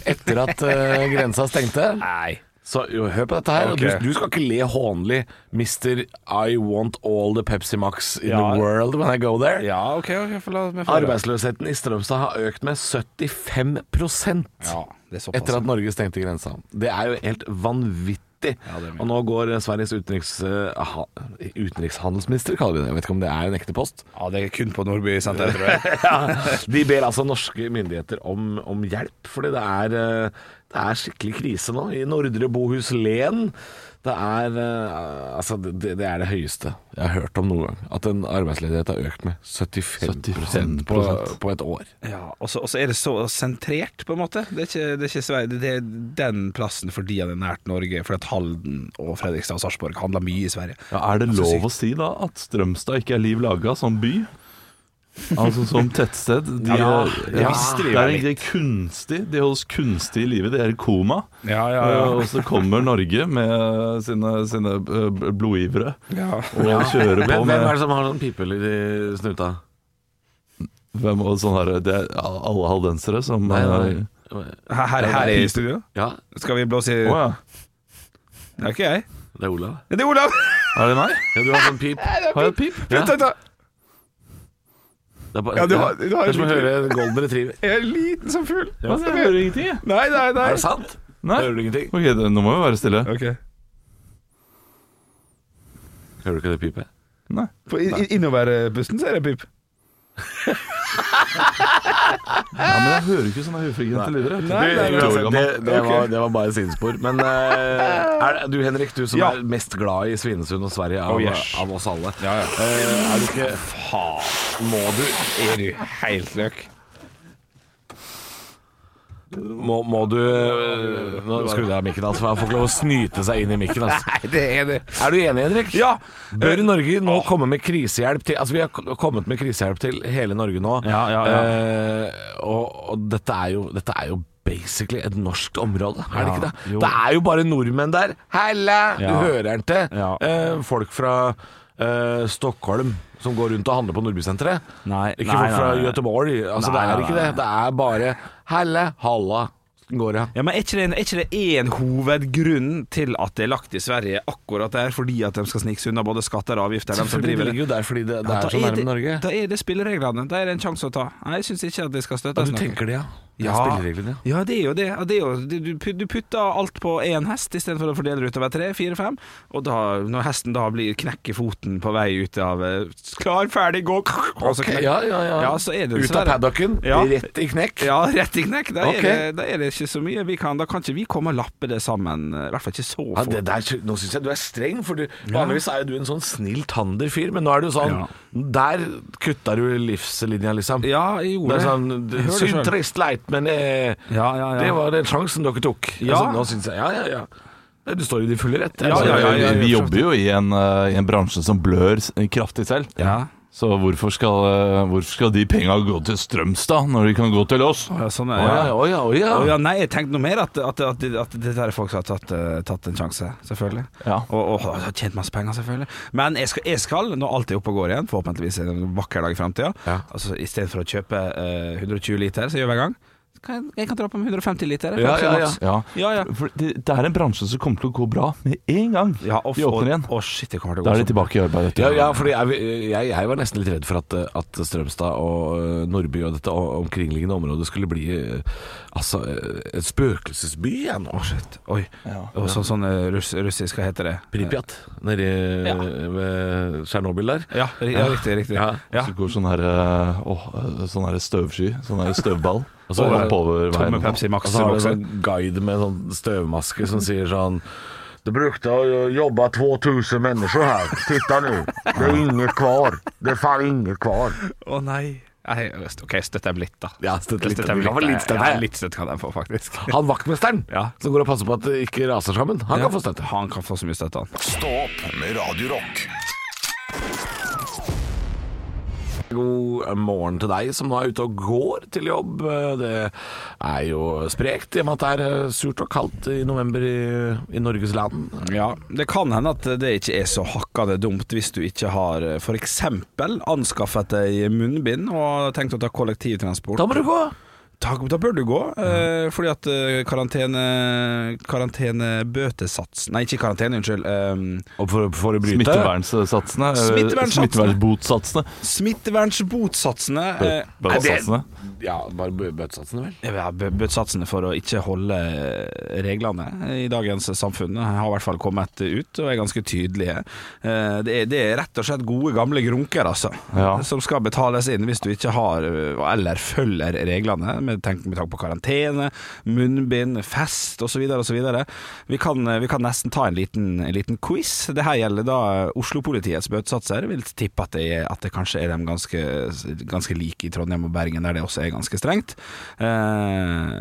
Speaker 5: Etter at eh, grensa stengte.
Speaker 3: *laughs*
Speaker 5: Nei. Så jo, hør på dette her. og Du, du skal ikke le hånlig. Mr. I want all the Pepsi Max in
Speaker 3: Ja.
Speaker 5: the world when I go there.
Speaker 3: Ja, OK. okay for la meg
Speaker 5: Arbeidsløsheten i Strømstad har økt med 75
Speaker 3: Ja, det er såpass.
Speaker 5: etter at Norge stengte grensa. Det er jo helt vanvittig.
Speaker 3: det er mye.
Speaker 5: og nå går Sveriges utenriks, eh, ha, utenrikshandelsminister, kaller de det. Jeg vet ikke om det er en ekte post.
Speaker 3: Ja, det er kun på Nordby senter, tror jeg.
Speaker 5: *laughs* De ber altså norske myndigheter om, om hjelp, fordi det er, eh, det er skikkelig krise nå. I Nordre Bohuslän det er, eh, altså, det, det er det høyeste jeg har hørt om noen gang. At en arbeidsledighet har økt med 75,
Speaker 4: 75%.
Speaker 5: På, på et år.
Speaker 3: Ja, og så og så er det så sentrert, på en måte. Det er ikke, det er ikke Sverige. Det er den plassen fordi han er nært Norge, fordi at Halden og Fredrikstad og Sarpsborg handler mye i Sverige.
Speaker 4: Ja, er det lov å si da at Strømstad ikke er liv laga som by? Altså som tettsted. De er,
Speaker 3: Ja,
Speaker 4: ja,
Speaker 3: ja, visst driver
Speaker 4: det er
Speaker 3: jeg
Speaker 4: egentlig kunstig. De holdes kunstig i live. De er i koma. Eh,
Speaker 3: Ja, ja, ja.
Speaker 4: Og så kommer Norge med sine, sine eh, blodgivere
Speaker 3: Ja.
Speaker 4: og kjører
Speaker 5: Hvem,
Speaker 4: på
Speaker 5: hvem er
Speaker 4: med
Speaker 5: det som har sånn pipelyd i snuta?
Speaker 4: hvem, og sånn her, det er alle haldensere som
Speaker 5: Nei, nei.
Speaker 4: eh,
Speaker 3: Her, her, her er i studio?
Speaker 5: Ja,
Speaker 3: Skal vi blåse i
Speaker 4: Å ja.
Speaker 3: Det er ikke jeg.
Speaker 5: det er Olav.
Speaker 3: Det er Olav!
Speaker 4: Er det meg?
Speaker 5: Ja, du har sånn pip.
Speaker 4: Har jeg et pip?
Speaker 5: Ja.
Speaker 3: *laughs* Vent, vent, da.
Speaker 5: Det er, bare,
Speaker 3: Ja, du har- du har
Speaker 5: det er som å
Speaker 3: litt-
Speaker 5: høre en golden retriever.
Speaker 3: Jeg er liten som fugl.
Speaker 4: Ja, jeg hører ingenting, jeg.
Speaker 3: Nei, nei, nei.
Speaker 5: Er det sant?
Speaker 4: Nei.
Speaker 5: Hører du ingenting?
Speaker 4: Ok, det, nå må vi være stille.
Speaker 3: Ok.
Speaker 5: Hører du ikke det pipet?
Speaker 4: Nei.
Speaker 3: På i- i- innoverbussen så er det pip.
Speaker 4: Ja, men jeg hører ikke sånne høyfrekvente lyder. jeg.
Speaker 3: Nei, nei,
Speaker 5: Du,
Speaker 3: nei.
Speaker 5: uansett, det, det,
Speaker 3: Ok.
Speaker 5: var, det var bare sidespor. Men eh, er, det- du Henrik, du som
Speaker 3: Ja.
Speaker 5: er mest glad i Svinesund og Sverige av,
Speaker 3: Oh, yes.
Speaker 5: av oss alle.
Speaker 3: Ja, ja.
Speaker 5: Eh, er du ikke Faen, må du
Speaker 3: Er du helt løk?
Speaker 5: Må, må du eh, Nå skrudde jeg av mikken hans, for han får ikke lov å snyte seg inn i mikken. Altså.
Speaker 3: Nei, det er det.
Speaker 5: Er du enig, Henrik?
Speaker 3: Ja. Eh,
Speaker 5: Bør Norge nå komme med krisehjelp til Altså, vi har k- kommet med krisehjelp til hele Norge nå.
Speaker 3: Ja, ja, ja.
Speaker 5: Eh, og, og dette er jo Dette er jo basically et norsk område, er det
Speaker 3: Ja,
Speaker 5: ikke det?
Speaker 3: jo.
Speaker 5: Det er jo bare nordmenn der. Halla! Du
Speaker 3: Ja.
Speaker 5: hører den til.
Speaker 3: Ja.
Speaker 5: Eh, folk fra eh, Stockholm som går rundt og handler på Nordbysenteret.
Speaker 3: Nei,
Speaker 5: Ikke
Speaker 3: nei,
Speaker 5: folk fra
Speaker 3: nei, nei.
Speaker 5: Göteborg. Altså,
Speaker 3: Nei,
Speaker 5: det er
Speaker 3: nei,
Speaker 5: ikke
Speaker 3: nei.
Speaker 5: det. Det er bare Halla, halla, går det.
Speaker 3: Ja, men Er ikke det en- er ikke det én hovedgrunn til at det er lagt i Sverige akkurat der, fordi at de skal snike seg unna både skatter og avgifter? De som driver
Speaker 5: Selvfølgelig
Speaker 3: det.
Speaker 5: ligger jo der fordi det, det
Speaker 3: Ja,
Speaker 5: er så nærme
Speaker 3: det,
Speaker 5: Norge.
Speaker 3: Da er det spillereglene. Da er det en sjanse å ta. Nei, Jeg syns ikke at det skal
Speaker 5: Ja,
Speaker 3: støttes
Speaker 5: du tenker det, ja. Det er spillereglene, ja.
Speaker 3: ja, det er jo det. Ja, det er jo, du- du, put- du putter alt på én hest istedenfor å fordele det utover tre, fire, fem. Og da, når hesten da blir knekker foten på vei ut av eh, Klar, ferdig, gå! Og så
Speaker 5: Ok,
Speaker 3: knekker-
Speaker 5: ja, ja, ja.
Speaker 3: Ja, så er det
Speaker 5: Ut av
Speaker 3: dessverre-
Speaker 5: paddocken,
Speaker 3: Ja.
Speaker 5: rett i knekk.
Speaker 3: Ja, rett i knekk. Da, er
Speaker 5: Ok.
Speaker 3: det, da er det ikke så mye vi kan. Da kan ikke vi komme og lappe det sammen. eh, I hvert fall ikke så
Speaker 5: Ja,
Speaker 3: fort.
Speaker 5: det der, nå syns jeg du er streng, for du, vanligvis er jo du en sånn snill tander-fyr, men nå er du sånn
Speaker 3: Ja.
Speaker 5: Der kutta du livslinja, liksom.
Speaker 3: Ja, jeg
Speaker 5: det
Speaker 3: gjorde
Speaker 5: er
Speaker 3: det. Jeg
Speaker 5: sånn
Speaker 3: hører det
Speaker 5: Synd
Speaker 3: selv.
Speaker 5: trist leit, men eh,
Speaker 3: Ja, ja, ja.
Speaker 5: det var den sjansen dere tok.
Speaker 3: Ja.
Speaker 5: Altså, nå syns jeg Ja, ja, ja. Nei, Du står i din fulle rett.
Speaker 3: Ja, ja, ja, ja,
Speaker 4: Altså, Vi jobber jo i en, eh, i en bransje som blør s- kraftig selv.
Speaker 3: Ja.
Speaker 4: Så hvorfor skal, eh, hvorfor skal de penga gå til Strømstad når de kan gå til oss?
Speaker 3: Ja, sånn er,
Speaker 5: Å ja, å ja, å ja.
Speaker 3: Å ja, nei, jeg tenkte noe mer at, at, at, at det der er folk som har tatt, eh, tatt en sjanse, selvfølgelig.
Speaker 4: Ja.
Speaker 3: Og, og har tjent masse penger, selvfølgelig. Men jeg skal, jeg skal når alt er oppe og går igjen, forhåpentligvis en vakker dag i framtida,
Speaker 5: Ja.
Speaker 3: altså, i stedet for å kjøpe eh, 120 liter, som jeg gjør hver gang, kan jeg, jeg kan dra på med 150 liter. jeg,
Speaker 5: Ja, ja, ja.
Speaker 3: maks.
Speaker 4: Ja.
Speaker 3: Ja, ja.
Speaker 4: For det, det er en bransje som kommer til å gå bra med en gang
Speaker 3: Ja, og
Speaker 4: de åpner igjen.
Speaker 3: Å, shit, det kommer til å
Speaker 4: Da
Speaker 3: gå
Speaker 4: er de
Speaker 3: sånn.
Speaker 4: tilbake i arbeid. vet du.
Speaker 5: Ja, ja fordi jeg, jeg, jeg var nesten litt redd for at, eh, at Strømstad og eh, Nordby og dette o- omkringliggende området skulle bli eh, altså, eh, en spøkelsesby igjen. Å, shit. Oi.
Speaker 3: Og så, sånn eh, russ, russisk, hva heter det?
Speaker 5: Pripjat, nede i-
Speaker 3: Ja.
Speaker 5: ved Tsjernobyl der.
Speaker 3: Ja, ri- ja riktig. riktig
Speaker 5: Ja.
Speaker 3: Ja.
Speaker 4: Så går sånn her, eh, åh, eh, sånn her støvsky, sånn her støvball,
Speaker 5: Og så er det
Speaker 4: opp over
Speaker 3: Tomme
Speaker 4: veien.
Speaker 3: Pepsi
Speaker 5: Og så har
Speaker 3: Max-bokser.
Speaker 5: du en sånn guide med sånn støvmaske
Speaker 3: Mhm.
Speaker 5: som sier sånn det brukte å jobbe 2000 mennesker her. Titta nå. Det er ingen kvar. Det er faen ingen
Speaker 3: *laughs*
Speaker 5: kvar.
Speaker 3: Å nei. Nei, OK, støtt dem litt, da.
Speaker 5: Ja, støtt litt.
Speaker 3: dem
Speaker 5: Vi kan få litt støtt her.
Speaker 3: eh, Ja, litt støtt kan de få,
Speaker 5: *laughs*
Speaker 3: faktisk.
Speaker 5: Han vaktmesteren
Speaker 3: Ja.
Speaker 5: som går og passer på at det ikke raser sammen, han kan få støtte.
Speaker 3: Han kan få så mye støtte, han.
Speaker 1: Stå opp med Radio Rock.
Speaker 5: God morgen til deg som nå er ute og går til jobb. Det er jo sprekt i og med at det er surt og kaldt i november i, i Norges land.
Speaker 3: Ja, Det kan hende at det ikke er så hakkande dumt hvis du ikke har f.eks. anskaffet deg munnbind og tenkt å ta kollektivtransport.
Speaker 5: Da må du gå!
Speaker 3: Da, da bør du gå, eh, fordi at eh, karantene karantenebøtesats Nei, ikke karantene, unnskyld. Eh,
Speaker 5: Og for, for å bryte
Speaker 4: Smittevernsatsene. eh,
Speaker 3: Smittevernsatsene.
Speaker 4: Smittevernbotsatsene.
Speaker 3: Smittevernsbotsatsene eh,
Speaker 5: Er det-
Speaker 4: Botsatsene.
Speaker 5: Ja, bare bø- bøtesatsene, vel.
Speaker 3: ja, bø- Bøtesatsene for å ikke holde eh, reglene i dagens samfunn eh, har i hvert fall kommet ut og er ganske tydelige. Eh, Det er, det er rett og slett gode gamle grunker altså,
Speaker 4: Ja.
Speaker 3: som skal betales inn hvis du ikke har eh, eller følger reglene, med tanke, med tanke på karantene, munnbind, fest osv. osv. Vi, kan- eh, vi kan nesten ta en liten, en liten quiz. Det her gjelder da Oslo-politiets bøtesatser. Jeg vil tippe at det, er, at det kanskje er dem ganske, ganske like i Trondheim og Bergen, der det også er ganske strengt. Eh,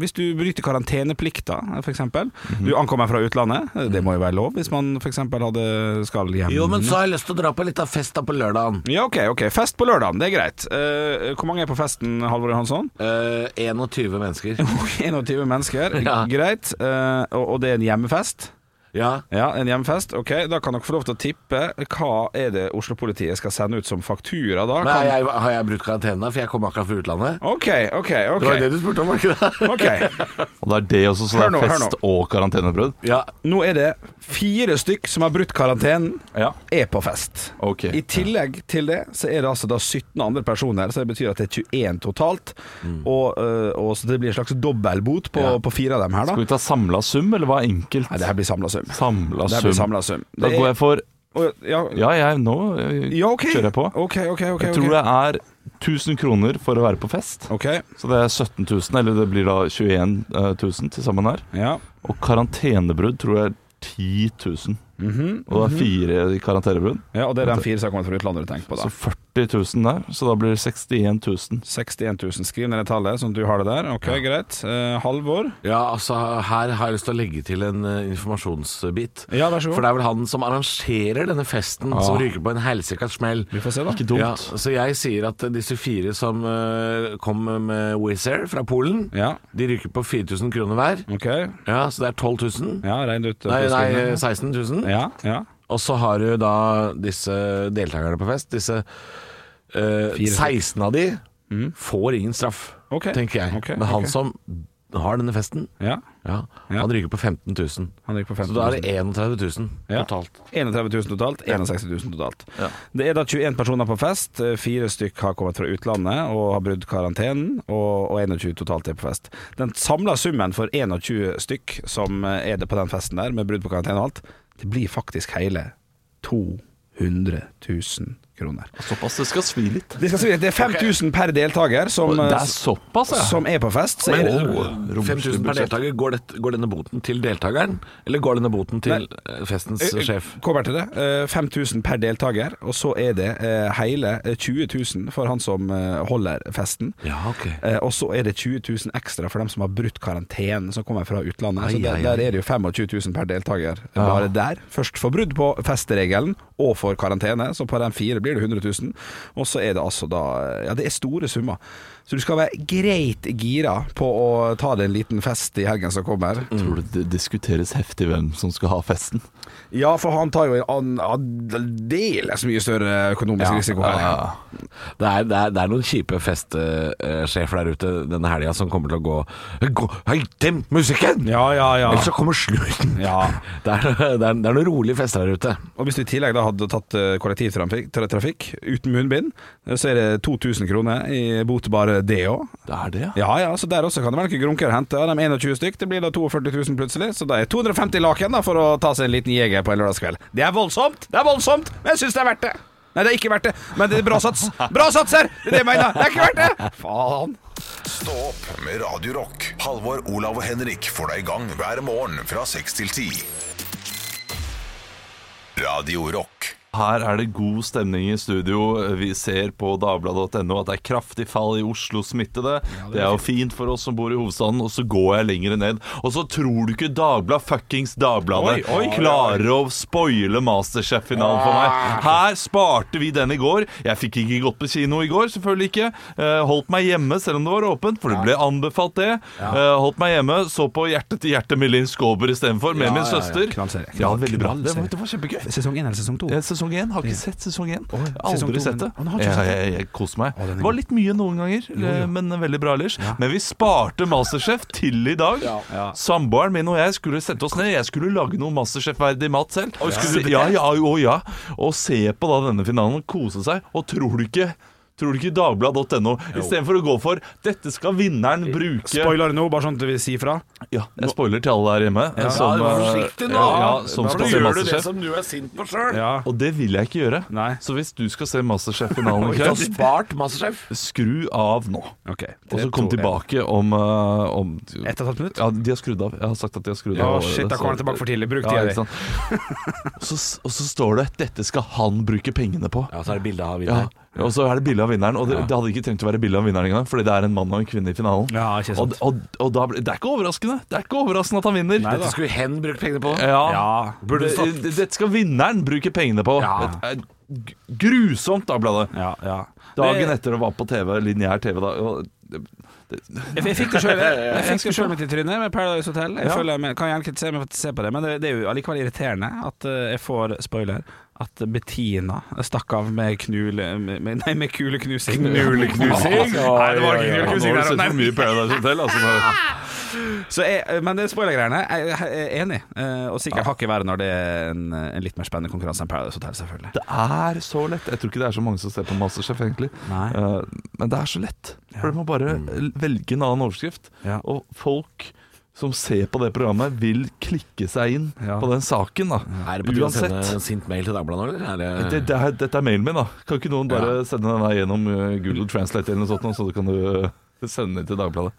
Speaker 3: hvis du bryter karanteneplikta, f.eks. eksempel
Speaker 5: Mhm.
Speaker 3: Du ankommer fra utlandet, det må jo være lov hvis man f.eks. hadde skal hjem
Speaker 5: Jo, men så har jeg lyst til å dra på litt av fest da på lørdagen.
Speaker 3: Ja, ok, ok. Fest på lørdagen, det er greit. Eh, hvor mange er på festen, Halvor
Speaker 5: *laughs*
Speaker 3: Johansson?
Speaker 5: Eh, 21 mennesker.
Speaker 3: *laughs* 21 mennesker,
Speaker 5: Ja.
Speaker 3: greit. Eh, og, og det er en hjemmefest?
Speaker 5: Ja.
Speaker 3: Ja, en hjemmefest. Ok, da kan dere få lov til å tippe. Hva er det Oslo-politiet skal sende ut som faktura, da?
Speaker 5: Men har
Speaker 3: Kan...
Speaker 5: jeg, har jeg brutt karantene, da? for jeg kom akkurat fra utlandet?
Speaker 3: Ok, ok,
Speaker 5: Det var jo
Speaker 3: ok.
Speaker 5: det du spurte om, var ikke det?
Speaker 3: Ok,
Speaker 4: Og det er det også, så det
Speaker 3: Hør nå,
Speaker 4: er
Speaker 3: hør
Speaker 4: fest og karantenebrudd.
Speaker 5: Ja.
Speaker 3: Nå er det fire stykk som har brutt karantenen,
Speaker 4: Ja.
Speaker 3: er på fest.
Speaker 4: Ok.
Speaker 3: I tillegg til det så er det altså da 17 andre personer, så det betyr at det er 21 totalt. Og, øh, og så det blir en slags dobbeltbot på,
Speaker 5: Mm. Ja.
Speaker 3: på fire av dem her, da.
Speaker 4: Skal vi ta samla sum, eller hva er enkelt?
Speaker 3: Nei, det her blir samla sum.
Speaker 4: Samla
Speaker 3: Det her blir
Speaker 4: sum.
Speaker 3: samla sum.
Speaker 4: Da går jeg for
Speaker 3: ja, ja,
Speaker 4: Ja, jeg nå eh,
Speaker 3: ok.
Speaker 4: kjører jeg på.
Speaker 3: Ok, ok, ok.
Speaker 4: Jeg tror det er 1000 kroner for å være på fest.
Speaker 3: Ok,
Speaker 4: Så det er 17 000, eller det blir da 21 000 til sammen her.
Speaker 3: ja.
Speaker 4: Og karantenebrudd tror jeg er 10 000.
Speaker 3: Mhm,
Speaker 4: Og det er fire i karantenebrudd.
Speaker 3: ja, og det er den fire som har kommet fra utlandet du tenker på, da.
Speaker 4: Så 40 000 der, så da blir det 61 000.
Speaker 3: 61 000. Skriv ned det tallet, sånn at du har det der. Ok, greit. Eh, Halvor?
Speaker 5: ja, altså her har jeg lyst til å legge til en eh, informasjonsbit.
Speaker 3: Ja, vær så god.
Speaker 5: For det er vel han som arrangerer denne festen, som ryker på en helsikas smell.
Speaker 3: Vi får se, da.
Speaker 4: Ikke dumt.
Speaker 5: Ja, så jeg sier at eh, disse fire som eh, kom med Wizz Air fra Polen,
Speaker 3: Ja,
Speaker 5: de ryker på 4000 kroner hver.
Speaker 3: ok.
Speaker 5: Ja, så det er 12 000.
Speaker 3: Ja, regn ut.
Speaker 5: Nei, nei, eh, 16 000.
Speaker 3: Ja, ja.
Speaker 5: Og så har du da disse deltakerne på fest. Disse eh,
Speaker 3: Fire. Mm.
Speaker 5: 16 av de får ingen straff,
Speaker 3: Ok,
Speaker 5: tenker jeg.
Speaker 3: ok,
Speaker 5: Men han
Speaker 3: ok.
Speaker 5: som har denne festen,
Speaker 3: ja.
Speaker 5: ja,
Speaker 3: Ja.
Speaker 5: han ryker på 15 000.
Speaker 3: Han gikk på
Speaker 5: Så
Speaker 3: 15
Speaker 5: da
Speaker 3: 000.
Speaker 5: er det 31 000
Speaker 3: Ja.
Speaker 5: totalt.
Speaker 3: 31 000 totalt, 61 000 totalt. Det er da 21 personer på fest, Eh, fire stykk har kommet fra utlandet og har brutt karantenen, og, og 21 totalt er på fest. Den samla summen for 21 stykk som eh, er det på den festen der, med brudd på karantene og alt, det blir faktisk hele 200 000 kroner.
Speaker 4: Såpass, det skal svi litt.
Speaker 3: Det, skal si, det er 5000 per deltaker som, eh,
Speaker 4: Det er såpass, ja.
Speaker 3: som er på fest. Så er det,
Speaker 4: Åh, romslig
Speaker 5: 5000 per
Speaker 4: budsjett.
Speaker 5: deltaker. Går, det, går denne boten til deltakeren, eller går denne boten til eh, festens
Speaker 3: Eh,
Speaker 5: sjef?
Speaker 3: Kommer til det. Eh, 5000 per deltaker, og så er det eh, hele eh, 20 000 for han som eh, holder festen.
Speaker 5: Ja, ok.
Speaker 3: Eh, Og så er det 20 000 ekstra for dem som har brutt karantenen, som kommer fra utlandet. så
Speaker 5: Ai,
Speaker 3: der,
Speaker 5: ai, ai.
Speaker 3: der er det jo 25 000 per deltaker bare der. Først for brudd på festeregelen og for karantene, så på de fire blir blir det 100 000. Og så er det altså da Ja, det er store summer. Så du skal være greit gira på å ta deg en liten fest i helgen som kommer.
Speaker 4: Tror du det diskuteres heftig hvem som skal ha festen?
Speaker 3: Ja, for han tar jo en an- aldeles mye større økonomisk risiko her.
Speaker 5: Det er, det, er, det er noen kjipe festsjefer der ute denne helga som kommer til å gå Gå- Hei, demp musikken!
Speaker 3: Ja, ja, ja.
Speaker 5: Ellers så kommer slurten.
Speaker 3: Ja.
Speaker 5: Det, er, *laughs* det, er, det er noen rolige fester der ute.
Speaker 3: Og hvis du i tillegg da hadde tatt eh, kollektivtrafikk tra- trafikk uten munnbind, eh, så er det 2000 kroner i bot bare det òg.
Speaker 4: Det er det,
Speaker 3: Ja ja, så der også kan det være noen grunker å hente. Av de 21 stykk, det blir da 42 000 plutselig. Så da er 250 laken da for å ta seg en liten jeger på en lørdagskveld. Det er voldsomt, det er voldsomt, men jeg syns det er verdt det. Nei, det er ikke verdt det, men det er bra sats. Bra sats her! Det er det jeg mener. Det er ikke verdt det! Faen.
Speaker 1: Stå opp med Radio Rock. Halvor, Olav og Henrik får deg i gang hver morgen fra 6 til 10. Radio Rock.
Speaker 4: Her er det god stemning i studio. Vi ser på dagbladet.no at det er kraftig fall i Oslo-smittede. det, er jo fint for oss som bor i hovedstaden. Og så går jeg lenger ned. Og så tror du ikke Dagbladet fuckings Dagbladet
Speaker 3: Oi, oi, oi.
Speaker 4: klarer å spoile Masterchef-finalen for meg. Her sparte vi den i går. Jeg fikk ikke gått på kino i går, selvfølgelig ikke. Eh, Holdt meg hjemme selv om det var åpent, for det ble anbefalt det. Eh, Holdt meg hjemme, så på Hjerte til hjerte med Linn Skåber istedenfor, med min søster.
Speaker 3: Knallserie.
Speaker 4: Ja, veldig bra. Det
Speaker 3: Knallserie.
Speaker 4: var, det var kjempegøy.
Speaker 3: Sesong én eller sesong to?
Speaker 4: Eh, Sesong 1. Har ikke sett sesong 1.
Speaker 3: sesong
Speaker 4: Aldri
Speaker 3: to,
Speaker 4: sett det.
Speaker 3: men- Å, du har ikke
Speaker 4: Jeg,
Speaker 3: sett det?
Speaker 4: jeg, jeg koser meg.
Speaker 3: Å, den er
Speaker 4: Det var
Speaker 3: god.
Speaker 4: litt mye noen ganger, eh, men veldig bra ellers. Men vi sparte Masterchef til i dag. Samboeren min og jeg skulle sette oss ned. Jeg skulle lage noe Masterchef-verdig mat selv. Se- ja, ja, å, ja. Og se på da denne finalen, kose seg. Og tror du ikke Tror du ikke Dagbladet.no istedenfor å gå for 'dette skal vinneren bruke'
Speaker 3: Spoiler nå, bare sånn at du vil si fra.
Speaker 4: Ja, jeg spoiler til alle der hjemme. eh, som,
Speaker 5: vær
Speaker 4: eh,
Speaker 5: forsiktig nå.
Speaker 4: Ja, som
Speaker 5: Da
Speaker 4: skal se
Speaker 5: gjør du det
Speaker 4: Masterchef.
Speaker 5: som du er sint på sjøl.
Speaker 3: Ja.
Speaker 4: Og det vil jeg ikke gjøre.
Speaker 3: Nei.
Speaker 4: Så hvis du skal se Masterchef-finalen i
Speaker 5: Du har
Speaker 4: kveld,
Speaker 5: spart Masterchef.
Speaker 4: skru av nå.
Speaker 3: Ok.
Speaker 4: Og så kom
Speaker 3: Tre, to,
Speaker 4: tilbake om, eh, om
Speaker 3: en. Ett og et halvt minutt?
Speaker 4: ja, de har skrudd av. Jeg har sagt at de har skrudd
Speaker 3: Ja,
Speaker 4: av.
Speaker 3: shit, da kommer han tilbake for tidlig. Bruk
Speaker 4: Ja,
Speaker 3: tida
Speaker 4: ikke
Speaker 3: di.
Speaker 4: sant? Og så- Og så står det 'dette skal han bruke pengene på'.
Speaker 5: Ja, så er det bilde av
Speaker 4: Ja,
Speaker 5: vinneren.
Speaker 4: og så er det bilde av vinneren, og det, det hadde ikke trengt å være bilde av vinneren engang, fordi det er en mann og en kvinne i finalen.
Speaker 3: Ja, ikke sant.
Speaker 4: Og, og, og da, ble- det er ikke overraskende Det er ikke overraskende at han vinner.
Speaker 5: Dette skulle hen brukt pengene på.
Speaker 4: Ja,
Speaker 3: Ja.
Speaker 4: Burde det,
Speaker 5: stått-
Speaker 4: det- Dette skal vinneren bruke pengene på.
Speaker 5: Ja.
Speaker 4: Det er g- Grusomt, da, bladet.
Speaker 3: Ja, ja.
Speaker 4: Dagen etter det var på TV, lineær TV da og det-
Speaker 3: Jeg, jeg fikk det
Speaker 4: *laughs*
Speaker 3: sjøl Jeg fikk det selv midt i trynet med Paradise Hotel. Jeg
Speaker 4: Ja.
Speaker 3: føler jeg men- kan gjerne kritisere meg for å se på det, men det, det er jo allikevel irriterende at eh, jeg får spoiler. At Bettina stakk av med knule... Med, nei, med kuleknusing. *laughs*
Speaker 5: Knuleknusing?
Speaker 3: Nei, det var ikke
Speaker 4: Ja, nå
Speaker 3: kuleknusing
Speaker 4: har du
Speaker 3: der.
Speaker 4: sett
Speaker 3: Nei.
Speaker 4: for mye Paradise Hotel. Altså, nå-
Speaker 3: Så jeg, men det spoilergreiene, jeg jeg er enig. eh, Og sikkert hakket verre når det er en, en litt mer spennende konkurranse enn Paradise Hotel, selvfølgelig.
Speaker 4: det er så lett. Jeg tror ikke det er så mange som ser på Masterchef, egentlig.
Speaker 3: Nei. Mm.
Speaker 4: Eh, men det er så lett. For du må bare velge en annen overskrift.
Speaker 3: Ja.
Speaker 4: Og folk som ser på det programmet, vil klikke seg inn
Speaker 3: Ja.
Speaker 4: på den saken, da.
Speaker 5: Er det på tide å sende en sint mail til Dagbladet nå, eller? Er
Speaker 4: Det, det er, dette er mailen min, da. Kan ikke noen bare sende den her gjennom eh, Google Translate eller noe sånt, nå, så du kan du eh, sende den til Dagbladet?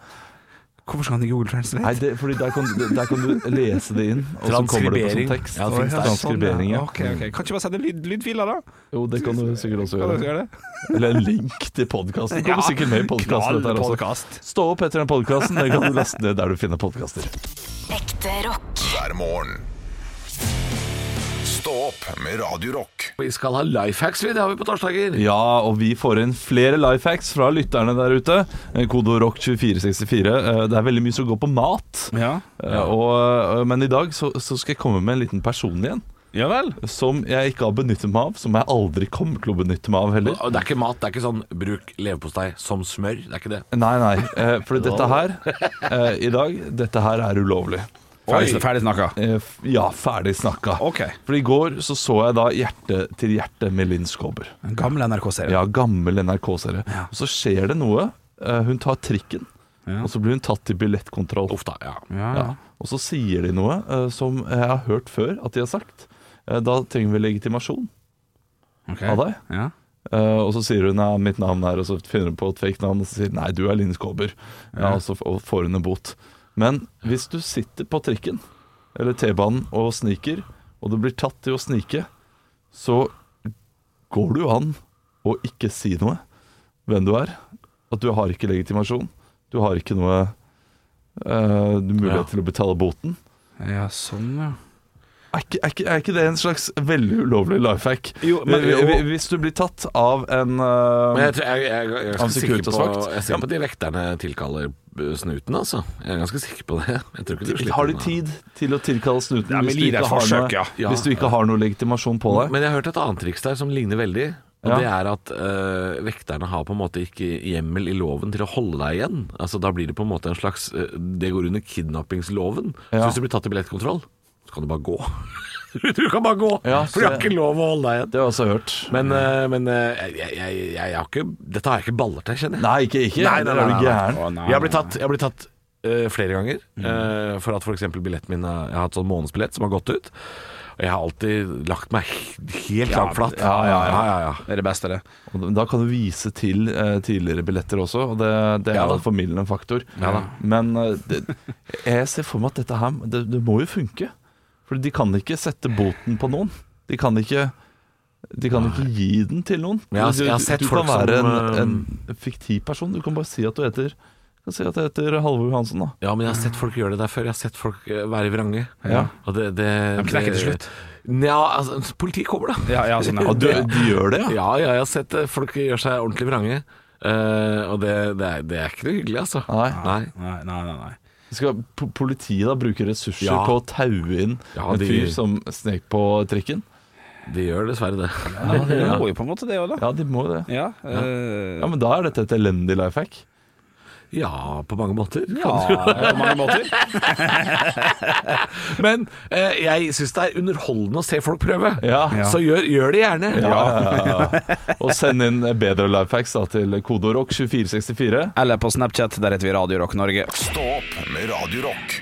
Speaker 3: Hvorfor skal han i Google Translate?
Speaker 4: Nei, det, fordi der kan, du- der kan du lese det inn, og så kommer det på
Speaker 5: Transkribering.
Speaker 4: som tekst.
Speaker 5: Ja, det finnes der.
Speaker 6: sånn,
Speaker 4: Transkribering, ja.
Speaker 3: Ok, ok. Kan ikke bare sende lyd, lydfiler, da?
Speaker 4: Jo, det kan du sikkert også
Speaker 3: Kan dere gjøre
Speaker 4: gjøre.
Speaker 3: det?
Speaker 4: Eller en link til podkasten. Kommer sikkert med i podkasten. dette her også.
Speaker 3: Knallpodcast.
Speaker 4: Stå opp etter den podkasten. Det kan du laste ned der du finner podkaster.
Speaker 2: Ekte rock.
Speaker 1: hver morgen. Stå opp med Radio Rock.
Speaker 5: Vi skal ha life hacks, vi. Det har vi på torsdager.
Speaker 4: Ja, og vi får inn flere life hacks fra lytterne der ute. Kodo rock 2464. Eh, Det er veldig mye som går på mat.
Speaker 3: Ja.
Speaker 4: Eh, Og, eh, men i dag så, så skal jeg komme med en liten person igjen.
Speaker 3: ja vel.
Speaker 4: Som jeg ikke har benyttet meg av. Som jeg aldri kommer til å benytte meg av heller.
Speaker 5: Og Det er ikke mat. Det er ikke sånn bruk leverpostei som smør. Det er ikke det.
Speaker 4: Nei, nei. eh, For dette her eh, i dag, dette her er ulovlig.
Speaker 3: Ferdig, ferdig snakka.
Speaker 4: Eh, f- Ja, ferdig snakka.
Speaker 3: Ok.
Speaker 4: For i går så, så jeg da Hjerte til hjerte med Linn Skåber.
Speaker 3: En gammel NRK-serie.
Speaker 4: Ja, gammel NRK-serie. Og så skjer det noe. Eh, Hun tar trikken, og så blir hun tatt til billettkontroll.
Speaker 5: Uff da, ja.
Speaker 4: Ja. Og så sier de noe eh, som jeg har hørt før at de har sagt. Eh, Da trenger vi legitimasjon
Speaker 3: Ok.
Speaker 4: av deg.
Speaker 3: Ja.
Speaker 4: Eh, og så sier hun ja, mitt navn er, og så finner hun på et fake navn og så sier nei, du er Linn Skåber. Ja, og så f- og får hun en bot. Men hvis du sitter på trikken eller T-banen og sniker, og du blir tatt til å snike, så går det jo an å ikke si noe hvem du er. At du har ikke legitimasjon. Du har ikke noe eh, mulighet
Speaker 5: Ja.
Speaker 4: til å betale boten.
Speaker 3: ja, sånn, ja.
Speaker 4: Er ikke, er, ikke, er ikke det en slags veldig ulovlig life hack?
Speaker 6: Jo, men-
Speaker 4: Hvis- Hvis du blir tatt av en eh,
Speaker 5: Men jeg, tror- jeg, jeg, jeg, er
Speaker 4: Han
Speaker 5: ganske sikker på,
Speaker 4: Securitas-vakt.
Speaker 5: jeg er sikker på at de vekterne tilkaller eh, snuten, altså. Jeg er ganske sikker på det. Jeg tror ikke du slipper
Speaker 4: Har de
Speaker 5: unna.
Speaker 4: tid til å tilkalle snuten
Speaker 6: men
Speaker 4: hvis, du
Speaker 6: gi det
Speaker 4: ikke
Speaker 6: et
Speaker 4: har
Speaker 6: forsøk,
Speaker 4: noe,
Speaker 5: ja.
Speaker 4: hvis du ikke har noe legitimasjon på deg?
Speaker 5: Men jeg har hørt et annet triks der som ligner veldig. Og
Speaker 4: Ja.
Speaker 5: Det er at eh, vekterne har på en måte ikke hjemmel i loven til å holde deg igjen. Altså Da blir det på en måte en slags eh, Det går under kidnappingsloven.
Speaker 4: Ja.
Speaker 5: Så hvis du blir tatt i billettkontroll, så kan du bare gå. *laughs* du kan bare gå,
Speaker 4: Ja,
Speaker 5: for de har
Speaker 4: så-
Speaker 5: ikke lov å holde deg igjen.
Speaker 4: Det har jeg også hørt.
Speaker 5: Men, eh, men eh, jeg, jeg, jeg, jeg har ikke Dette har jeg ikke baller til, kjenner jeg.
Speaker 4: nei, ikke ikke.
Speaker 5: Nei, nei,
Speaker 4: Der er
Speaker 5: nei,
Speaker 4: du
Speaker 5: nei.
Speaker 4: gæren.
Speaker 6: Å, nei.
Speaker 5: Jeg har blitt tatt, jeg har blitt tatt eh, flere ganger eh, for at f.eks. billetten min har- Jeg har hatt sånn månedsbillett som har gått ut. Og jeg har alltid lagt meg he- helt langflat.
Speaker 6: ja, ja, ja.
Speaker 5: ja, ja.
Speaker 6: Det er det beste, det.
Speaker 4: Og Da kan du vise til eh, tidligere billetter også, og det, det er
Speaker 5: Ja da.
Speaker 4: jo en formildende faktor.
Speaker 5: Ja da.
Speaker 4: Men eh, det, jeg ser for meg at dette her det, det må jo funke. For de kan ikke sette boten på noen. De kan ikke de kan ikke gi den til noen.
Speaker 5: Men jeg har-
Speaker 4: Du- du-
Speaker 5: jeg har sett
Speaker 4: du
Speaker 5: folk
Speaker 4: kan være
Speaker 5: som, eh,
Speaker 4: en, en fiktiv person. Du kan bare si at du heter du kan si at jeg heter Halvor Johansen, da.
Speaker 5: Ja, men jeg har sett folk gjøre det der før. Jeg har sett folk eh, være vrange.
Speaker 4: Ja.
Speaker 5: Og det, det,
Speaker 6: De knekker til slutt.
Speaker 5: Nja, altså, politiet kommer, da.
Speaker 6: Ja, ja, sånn, ja.
Speaker 4: *laughs* Og du, de gjør det, ja?
Speaker 5: Ja, ja, jeg har sett eh, folk gjøre seg ordentlig vrange. Eh, og det, det, er, det er ikke noe hyggelig, altså.
Speaker 4: Nei.
Speaker 5: Nei.
Speaker 6: Nei, nei, nei, nei.
Speaker 4: Skal po- politiet da bruke ressurser
Speaker 5: Ja.
Speaker 4: på å taue inn
Speaker 5: Ja,
Speaker 4: en
Speaker 5: de-
Speaker 4: fyr som snek på trikken?
Speaker 5: De gjør dessverre det.
Speaker 6: Ja, det går jo på en måte, det òg, da.
Speaker 4: Ja, de må jo det.
Speaker 6: Ja, eh,
Speaker 4: Ja, men da er dette et elendig life hack.
Speaker 5: Ja, på mange måter.
Speaker 6: ja, på mange måter.
Speaker 5: Men eh, jeg syns det er underholdende å se folk prøve.
Speaker 4: Ja.
Speaker 5: Så gjør, gjør det gjerne.
Speaker 4: Og send inn bedre life hacks da, til kodorock 2464.
Speaker 6: Eller på Snapchat, der heter vi Radio Rock Norge.
Speaker 1: Stå opp med Radio Rock.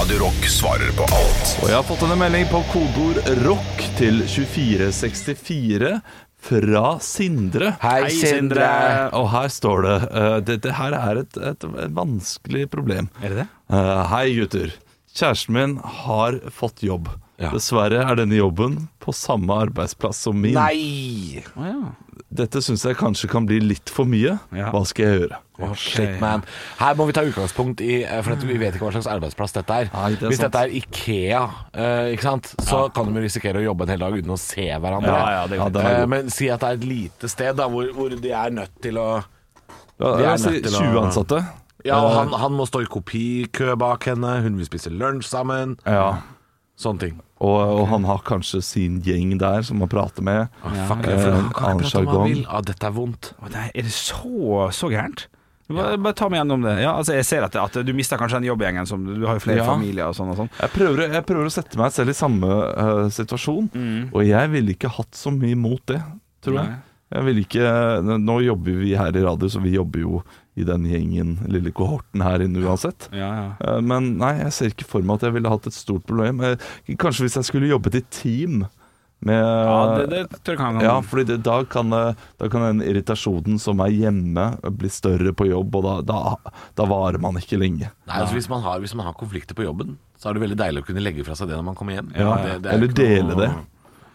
Speaker 1: Radio Rock svarer på alt
Speaker 4: Og jeg har fått en melding på kodord rock til 2464 fra Sindre.
Speaker 5: Hei, Sindre.
Speaker 4: Og her står det eh, Dette her er et, et vanskelig problem.
Speaker 6: Er det det?
Speaker 4: Eh, hei, gutter. Kjæresten min har fått jobb.
Speaker 5: Ja.
Speaker 4: Dessverre er denne jobben på samme arbeidsplass som min.
Speaker 5: Nei!
Speaker 6: Å ja.
Speaker 4: Dette syns jeg kanskje kan bli litt for mye.
Speaker 6: Ja.
Speaker 4: Hva skal jeg gjøre?
Speaker 5: Å, shit, man. Her må vi ta utgangspunkt i eh, For at vi vet ikke hva slags arbeidsplass dette er.
Speaker 4: Nei, det er
Speaker 5: Hvis
Speaker 4: sant.
Speaker 5: dette er Ikea, eh, ikke sant? så kan de jo risikere å jobbe en hel dag uten å se hverandre.
Speaker 4: Ja, ja, det er klart.
Speaker 5: Eh, men si at det er et lite sted da, hvor, hvor de er nødt til å
Speaker 4: Ja,
Speaker 5: Vi er
Speaker 4: jeg sier
Speaker 5: nødt til å-
Speaker 4: 20 ansatte.
Speaker 5: Ja,
Speaker 4: Eh.
Speaker 5: og han, han må stå i kopikø bak henne, hun vil spise lunsj sammen.
Speaker 4: Ja.
Speaker 5: Sånne ting.
Speaker 4: Og, og han har kanskje sin gjeng der som han prater med.
Speaker 5: Ah, fuck,
Speaker 4: Ja.
Speaker 5: jeg-
Speaker 4: Eh,
Speaker 5: han kan
Speaker 4: annen
Speaker 5: ikke prate om
Speaker 4: jargong.
Speaker 5: han vil. Ah, dette er vondt.
Speaker 6: Å, nei, er det så, så gærent? Bare, bare ta meg gjennom det. Ja, altså, jeg ser at, at du mister kanskje den jobbgjengen som Du har jo flere
Speaker 4: Ja.
Speaker 6: familier og sånn og sånn.
Speaker 4: Jeg prøver, jeg prøver å sette meg selv i samme eh, situasjon,
Speaker 6: Mm.
Speaker 4: og jeg ville ikke hatt så mye mot det, tror jeg. Jeg ville ikke, Nå jobber vi her i radio, så vi jobber jo i den gjengen, lille kohorten her inne uansett.
Speaker 6: Ja, ja.
Speaker 4: Eh, Men nei, jeg ser ikke for meg at jeg ville hatt et stort problem. Eh, Kanskje hvis jeg skulle jobbet i team med
Speaker 6: ja det, det tror jeg kan
Speaker 4: Ja, fordi det, da, kan, eh, da kan den irritasjonen som er hjemme, eh, bli større på jobb, og da, da, da varer man ikke lenge.
Speaker 5: Nei, altså hvis man, har, hvis man har konflikter på jobben, så er det veldig deilig å kunne legge fra seg det når man kommer hjem.
Speaker 4: Ja,
Speaker 5: det, det er
Speaker 4: eller
Speaker 5: ikke
Speaker 4: dele det.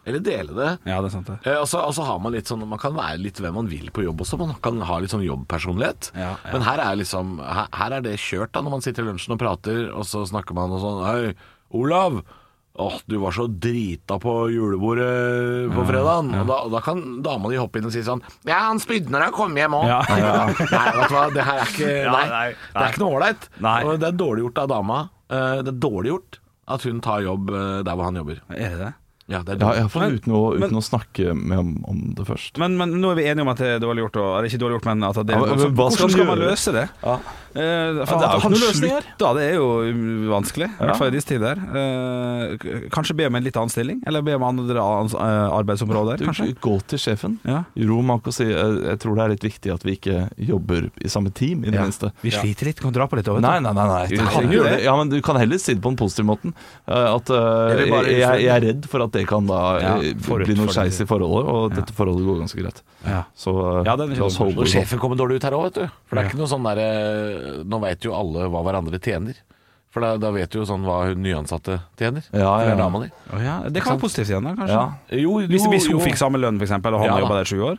Speaker 5: Eller dele det.
Speaker 6: ja, det er sant, det.
Speaker 5: Eh, Og så, og så har man litt sånn Man kan være litt hvem man vil på jobb også. Man kan ha litt sånn jobbpersonlighet.
Speaker 6: Ja, ja.
Speaker 5: Men her er liksom her, her er det kjørt, da, når man sitter i lunsjen og prater, og så snakker man og sånn Hei, Olav! Åh, du var så drita på julebordet på fredagen. Og da, og da kan dama di hoppe inn og si sånn Ja, han spydde når han kom hjem òg.
Speaker 6: Ja.
Speaker 5: *laughs* Nei, vet du hva, det her er ikke
Speaker 6: Ja,
Speaker 5: Nei,
Speaker 6: nei,
Speaker 5: det er ikke noe ålreit.
Speaker 6: Nei.
Speaker 5: Og det er dårlig gjort av dama. Eh, Det er dårlig gjort at hun tar jobb eh, der hvor han jobber.
Speaker 6: Er det det?
Speaker 5: Ja, det er
Speaker 4: Ja,
Speaker 5: dårlig.
Speaker 4: Iallfall
Speaker 6: Men-
Speaker 4: uten, å, uten
Speaker 6: men-
Speaker 4: å snakke med om, om det først.
Speaker 6: Men, men nå er vi enige om at det er dårlig gjort, og, eller ikke dårlig gjort, men at det er
Speaker 4: Ja, men- men hva skal
Speaker 6: Hvordan
Speaker 4: man
Speaker 6: skal man
Speaker 4: gjøre?
Speaker 6: løse det?
Speaker 4: Ja.
Speaker 6: Eh,
Speaker 4: Ja,
Speaker 6: for
Speaker 4: det er jo
Speaker 6: han- han
Speaker 4: ikke noe
Speaker 6: slutt,
Speaker 4: løsning her.
Speaker 6: Da, det er jo um, vanskelig, i
Speaker 4: Ja.
Speaker 6: hvert fall i disse tider. Eh, k- kanskje be om en litt annen stilling, eller be om andre ans- eh, arbeidsområder,
Speaker 4: Du,
Speaker 6: kanskje.
Speaker 4: Gå til sjefen.
Speaker 6: Ja.
Speaker 4: Ro mak og si eh, jeg tror det er litt viktig at vi ikke jobber i samme team, i det minste.
Speaker 6: Vi sliter litt, kan dra på litt òg,
Speaker 4: Nei, nei, nei. nei. Du, kan
Speaker 6: trenger
Speaker 4: jo
Speaker 6: det.
Speaker 4: det. Ja, men du kan heller si det på den positive måten. eh, At eh,
Speaker 5: Eller bare-
Speaker 4: jeg, jeg er redd for at det kan da
Speaker 6: Ja,
Speaker 4: eh,
Speaker 6: forut
Speaker 4: bli noe
Speaker 6: for det.
Speaker 4: skeis i forholdet, og dette forholdet går ganske greit.
Speaker 6: Ja.
Speaker 4: Så eh,
Speaker 6: Ja, den er ikke
Speaker 4: la oss
Speaker 6: dum.
Speaker 4: holde
Speaker 5: Og
Speaker 4: det sånn.
Speaker 5: sjefen kommer dårlig ut her òg, vet du. For det er
Speaker 6: Ja.
Speaker 5: ikke noe sånn derre Nå veit jo alle hva hverandre tjener. For da, da vet du jo sånn hva hun nyansatte tjener.
Speaker 4: Ja,
Speaker 5: For det er
Speaker 4: ja.
Speaker 5: dama di.
Speaker 6: Å ja. Det kan være positivt igjen, da, kanskje.
Speaker 4: Ja.
Speaker 5: Jo,
Speaker 6: Hvis, hvis hun
Speaker 5: jo.
Speaker 6: fikk samme lønn, for eksempel, og han
Speaker 5: Ja,
Speaker 6: har
Speaker 5: da.
Speaker 6: jobba der i sju år,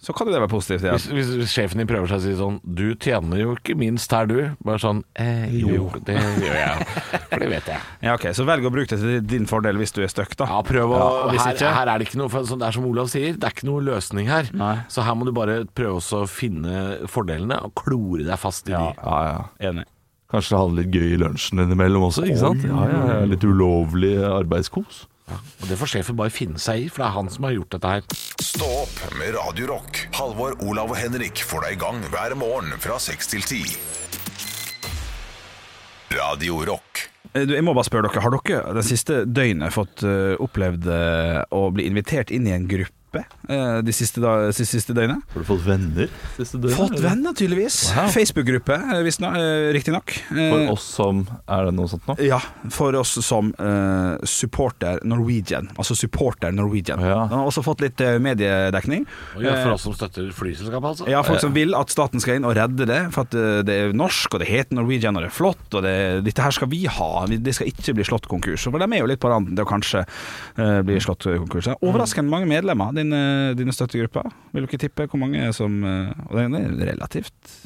Speaker 3: så kan jo det være positivt igjen.
Speaker 5: Hvis, hvis sjefen din prøver seg å si sånn Du tjener jo ikke minst her, du. Bare sånn eh, jo, det gjør jeg. For det vet jeg.
Speaker 3: Ja, ok, Så velg å bruke det til din fordel hvis du er stuck, da.
Speaker 5: Ja, prøv å
Speaker 3: og hvis
Speaker 5: her,
Speaker 3: ikke-
Speaker 5: her er det ikke noe for sånn, Det er som Olav sier, det er ikke noe løsning her. Så her må du bare prøve også å finne fordelene og klore deg fast i de.
Speaker 3: ja, Enig.
Speaker 4: Kanskje ha det litt gøy i lunsjen innimellom også. ikke sant? Ja, ja, ja. Litt ulovlig arbeidskos.
Speaker 5: Og det får sjefen bare finne seg i, for det er han som har gjort dette her.
Speaker 1: Stå opp med Radio Rock. Halvor, Olav og Henrik får deg i gang hver morgen fra 6 til 10. Radio Rock.
Speaker 3: Eh, Du, jeg må bare spørre dere, har dere det siste døgnet fått eh, opplevd eh, å bli invitert inn i en gruppe eh, de siste, da, siste, siste døgnet?
Speaker 4: Har du fått venner siste døgnet?
Speaker 3: Fått
Speaker 4: eller?
Speaker 3: venner, tydeligvis. Facebook-gruppe, eh, visst nå- eh, riktignok.
Speaker 4: For oss som Er det noe sånt nå?
Speaker 3: Ja, for oss som eh, supporter Norwegian. Altså supporter Norwegian.
Speaker 4: Ja.
Speaker 3: Den har også fått litt eh, mediedekning.
Speaker 5: Og ja, for oss som støtter flyselskapet, altså.
Speaker 3: Eh, Ja,
Speaker 4: Eh.
Speaker 3: folk som vil at staten skal inn og redde det, for at eh, det er norsk, og det heter Norwegian, og det er flott, og det, dette her skal vi ha. Vi- Det skal ikke bli slått konkurs. For de er jo litt på randen til å kanskje eh, bli slått konkurs. Det er Overraskende mange medlemmer, dine, dine støttegrupper. Vil du ikke tippe hvor mange som eh, Og det er relativt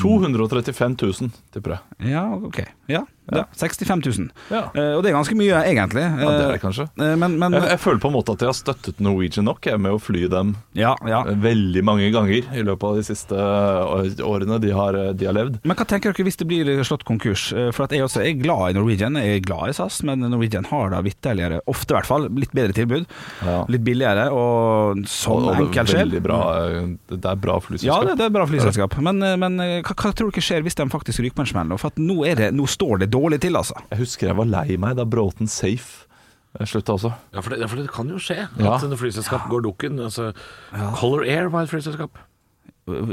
Speaker 4: 235 000, tipper jeg.
Speaker 3: Ja, ok. Ja, det er 65 000.
Speaker 4: Ja.
Speaker 3: Eh, og det er ganske mye, egentlig.
Speaker 4: Ja, det er det kanskje.
Speaker 3: Eh, men, men
Speaker 4: Jeg, jeg føler på en måte at jeg har støttet Norwegian nok jeg, med å fly dem
Speaker 3: Ja, ja.
Speaker 4: veldig mange ganger i løpet av de siste å- årene de har, eh, de har levd.
Speaker 3: Men hva tenker dere hvis det blir slått konkurs? Eh, For at jeg også er glad i Norwegian, jeg er glad i SAS, men Norwegian har da vitterligere, ofte i hvert fall, litt bedre tilbud.
Speaker 4: Ja.
Speaker 3: Litt billigere, og
Speaker 4: Og-
Speaker 3: som
Speaker 4: og det er
Speaker 3: enkel sjel.
Speaker 4: veldig bra, eh, det er bra
Speaker 3: Ja,
Speaker 4: flyselskap.
Speaker 3: det, det er bra flyselskap, men, eh, men eh, hva, hva tror dere skjer hvis de faktisk ryker på en smell? nå? For at nå, er det, nå står det dårlig til, altså.
Speaker 4: Jeg husker jeg var lei meg da Bråten Safe eh, slutta også.
Speaker 5: Ja, for det, ja, for det kan jo skje
Speaker 4: Ja.
Speaker 5: at et flyselskap går dukken. Altså, Color Air var et flyselskap.
Speaker 3: Hvem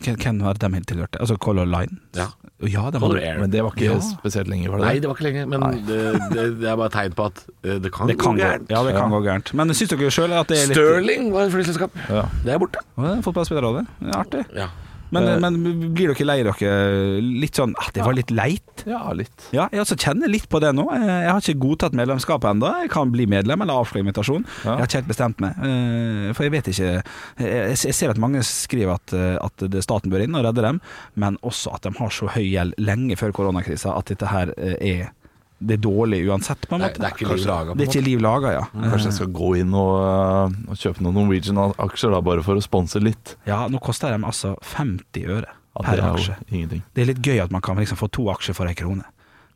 Speaker 3: hvem var de helt tilhørte? Altså Color Line?
Speaker 5: Ja.
Speaker 3: ja de
Speaker 5: Color
Speaker 3: hadde-
Speaker 5: Air.
Speaker 4: Men det var ikke
Speaker 3: Ja.
Speaker 4: spesielt lenge, var det
Speaker 5: Nei,
Speaker 4: det?
Speaker 5: det var ikke lenge, men det, det, det er bare et tegn på at eh, det kan,
Speaker 3: Det kan
Speaker 5: gå
Speaker 3: gå,
Speaker 5: gærent.
Speaker 3: ja, det kan gå gærent. Men syns dere sjøl at det er litt
Speaker 5: Sterling var et flyselskap.
Speaker 4: Ja.
Speaker 5: Det er borte.
Speaker 3: Å, Fotballspillere av det? Det er Artig.
Speaker 5: Ja.
Speaker 3: Men, men blir dere lei dere litt sånn at det var litt leit?
Speaker 4: Ja, litt.
Speaker 3: Ja, jeg altså kjenner litt på det nå. Eh, Jeg har ikke godtatt medlemskapet ennå. Jeg kan bli medlem eller avslå invitasjon. Jeg
Speaker 4: Ja.
Speaker 3: har ikke helt bestemt meg. Eh, For jeg vet ikke Jeg jeg ser at mange skriver at, eh, at det- staten bør inn og redde dem, men også at de har så høy gjeld lenge før koronakrisa at dette her eh, er det er dårlig uansett, på en
Speaker 5: Nei,
Speaker 3: måte.
Speaker 5: det er ikke liv laga. på en
Speaker 3: Det er
Speaker 5: måte.
Speaker 3: ikke liv laga, ja.
Speaker 4: Kanskje jeg skal gå inn og, eh, og kjøpe noen Norwegian-aksjer da, bare for å sponse litt.
Speaker 3: Ja, nå koster de altså 50 øre
Speaker 4: Ja,
Speaker 3: per
Speaker 4: det er
Speaker 3: aksje.
Speaker 4: jo ingenting.
Speaker 3: Det er litt gøy at man kan liksom få to aksjer for ei krone.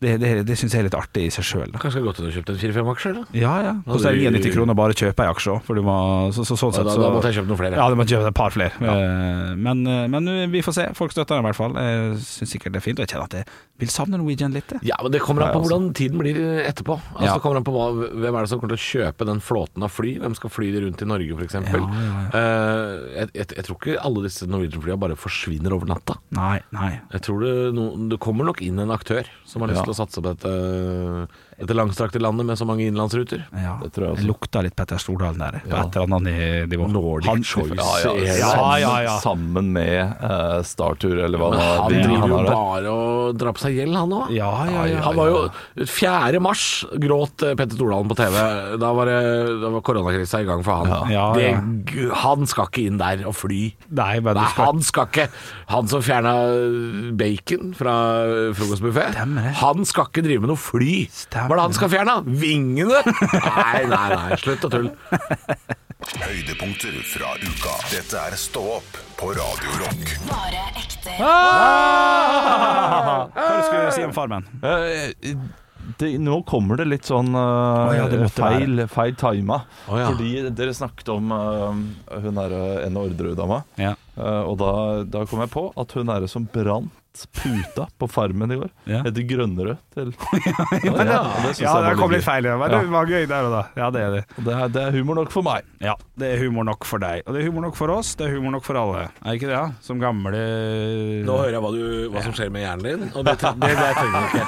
Speaker 3: Det, det, det syns jeg er litt artig i seg sjøl.
Speaker 5: Kanskje jeg har gått inn og kjøpt en fire-fem aksjer? Da.
Speaker 3: Ja, ja. Koster det 99 kroner å bare kjøpe ei aksje òg, for du må så, så, Sånn
Speaker 5: Ja,
Speaker 3: sett,
Speaker 5: da-
Speaker 3: så
Speaker 5: da måtte jeg kjøpe noen flere.
Speaker 3: Ja, du må kjøpe et par flere. Eh, Men, eh, men vi får se. Folk støtter den i hvert fall. Jeg syns sikkert det er fint. Og jeg kjenner at jeg vil savne Norwegian litt. jeg.
Speaker 5: Ja, men Det kommer an
Speaker 4: Nei,
Speaker 5: på
Speaker 4: altså.
Speaker 5: hvordan tiden blir etterpå. Altså,
Speaker 3: Ja.
Speaker 5: det kommer an på hva, Hvem er det som kommer til å kjøpe den flåten av fly? Hvem skal fly de rundt i Norge, f.eks.? eksempel Eh, jeg, jeg, jeg tror ikke alle disse Norwegian-flya bare forsvinner over natta.
Speaker 3: Nei, nei.
Speaker 5: Jeg tror det, no, det kommer nok inn en aktør som har lyst
Speaker 4: Ja.
Speaker 5: til å satse på dette, dette langstrakte landet med så mange innenlandsruter.
Speaker 3: Ja.
Speaker 4: Det tror jeg også.
Speaker 3: lukta litt Petter Stordalen der, på
Speaker 5: Ja.
Speaker 3: et eller annet nivå.
Speaker 5: Nordic
Speaker 3: Han-
Speaker 5: Choice.
Speaker 3: Ja, ja,
Speaker 5: Air.
Speaker 3: ja. ja, ja.
Speaker 4: Sammen med eh, Startur, eller hva
Speaker 5: Men
Speaker 4: det var.
Speaker 5: han
Speaker 4: de-
Speaker 5: driver jo
Speaker 4: har det.
Speaker 5: bare og drar på seg gjeld, han òg.
Speaker 3: Ja, ja, ja.
Speaker 5: Han var jo 4. mars gråt eh, Petter Stordalen på TV. Da var, det- da var koronakrisa i gang for han.
Speaker 3: Ja,
Speaker 5: det,
Speaker 3: ja.
Speaker 5: g- Han skal ikke inn der og fly.
Speaker 3: Nei, men du
Speaker 5: Nei,
Speaker 3: skal
Speaker 5: han skal ikke Han som fjerna bacon fra frokostbuffé,
Speaker 3: Stemmer det.
Speaker 5: han skal ikke drive med noe fly.
Speaker 3: Stemmer
Speaker 5: Hva er det han skal fjerne? Vingene? Nei, nei, nei, slutt å tulle.
Speaker 1: Høydepunkter fra uka. Dette er Stå opp på Radio Rock.
Speaker 2: Bare ekte rock.
Speaker 3: Hva du skulle si om Farmen?
Speaker 4: Eh, det, nå kommer det litt sånn eh,
Speaker 3: ja, det måtte
Speaker 4: feil, feil tima.
Speaker 5: Å, ja.
Speaker 4: Fordi dere snakket om eh, hun er eh, en Orderud-dama.
Speaker 3: Ja.
Speaker 4: Eh, og da, da kom jeg på at hun er som brant puta på Farmen i går.
Speaker 3: Ja.
Speaker 4: Heter Grønnerød til
Speaker 3: *laughs* Ja,
Speaker 4: Ja, det synes jeg var litt gøy.
Speaker 3: feil. ja, men
Speaker 4: Ja.
Speaker 3: var gøy der og da. Ja, det er det.
Speaker 4: Og Det, er- det er humor nok for meg.
Speaker 3: Ja, det er humor nok for deg. Og det er humor nok for oss, det er humor nok for alle. Er ikke det, ja? Som gamle
Speaker 5: Nå hører jeg hva, du, hva som skjer med hjernen din, og det, tre det, det trenger vi ikke.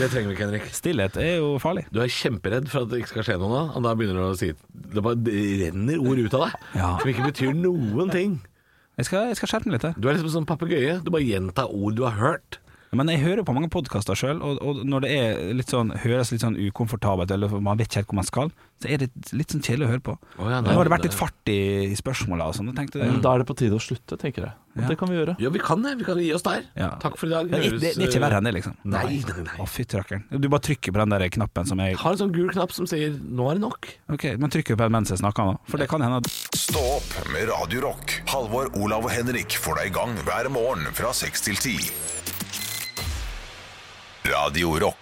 Speaker 5: Det trenger vi ikke, Henrik.
Speaker 3: Stillhet er jo farlig.
Speaker 5: Du er kjemperedd for at det ikke skal skje noe nå, og da begynner du å si Det bare det renner ord ut av deg
Speaker 3: Ja.
Speaker 5: som ikke betyr noen ting.
Speaker 3: Jeg skal, jeg skal skjerpe meg litt her.
Speaker 5: Du er liksom som en papegøye. Du bare gjentar ord du har hørt.
Speaker 3: Men jeg hører på mange podkaster sjøl, og, og når det er litt sånn, høres litt sånn ukomfortabelt eller man vet ikke helt hvor man skal, så er det litt sånn kjedelig å høre på.
Speaker 5: Å ja, Mm.
Speaker 3: Nå har det vært litt fart i, i spørsmåla og sånn, jeg tenkte det.
Speaker 4: Men da er det på tide å slutte, tenker jeg. Og
Speaker 3: Ja.
Speaker 4: det kan vi gjøre.
Speaker 5: Ja, vi kan det. Vi kan gi oss der.
Speaker 3: Ja.
Speaker 5: Takk for i dag. eh,
Speaker 3: Men det, det, det er ikke verre enn det, liksom.
Speaker 5: Nei, nei, nei.
Speaker 3: Å, fytti rakkeren. Du bare trykker på den der knappen som jeg
Speaker 5: Jeg har en sånn gul knapp som sier 'nå er det nok'.
Speaker 3: Ok, men trykker du på den mens jeg snakker nå? For det kan hende at
Speaker 1: Stå opp med Radio Rock. Halvor, Olav og Henrik får deg i gang hver morgen fra 6 til 10. Radio Rock.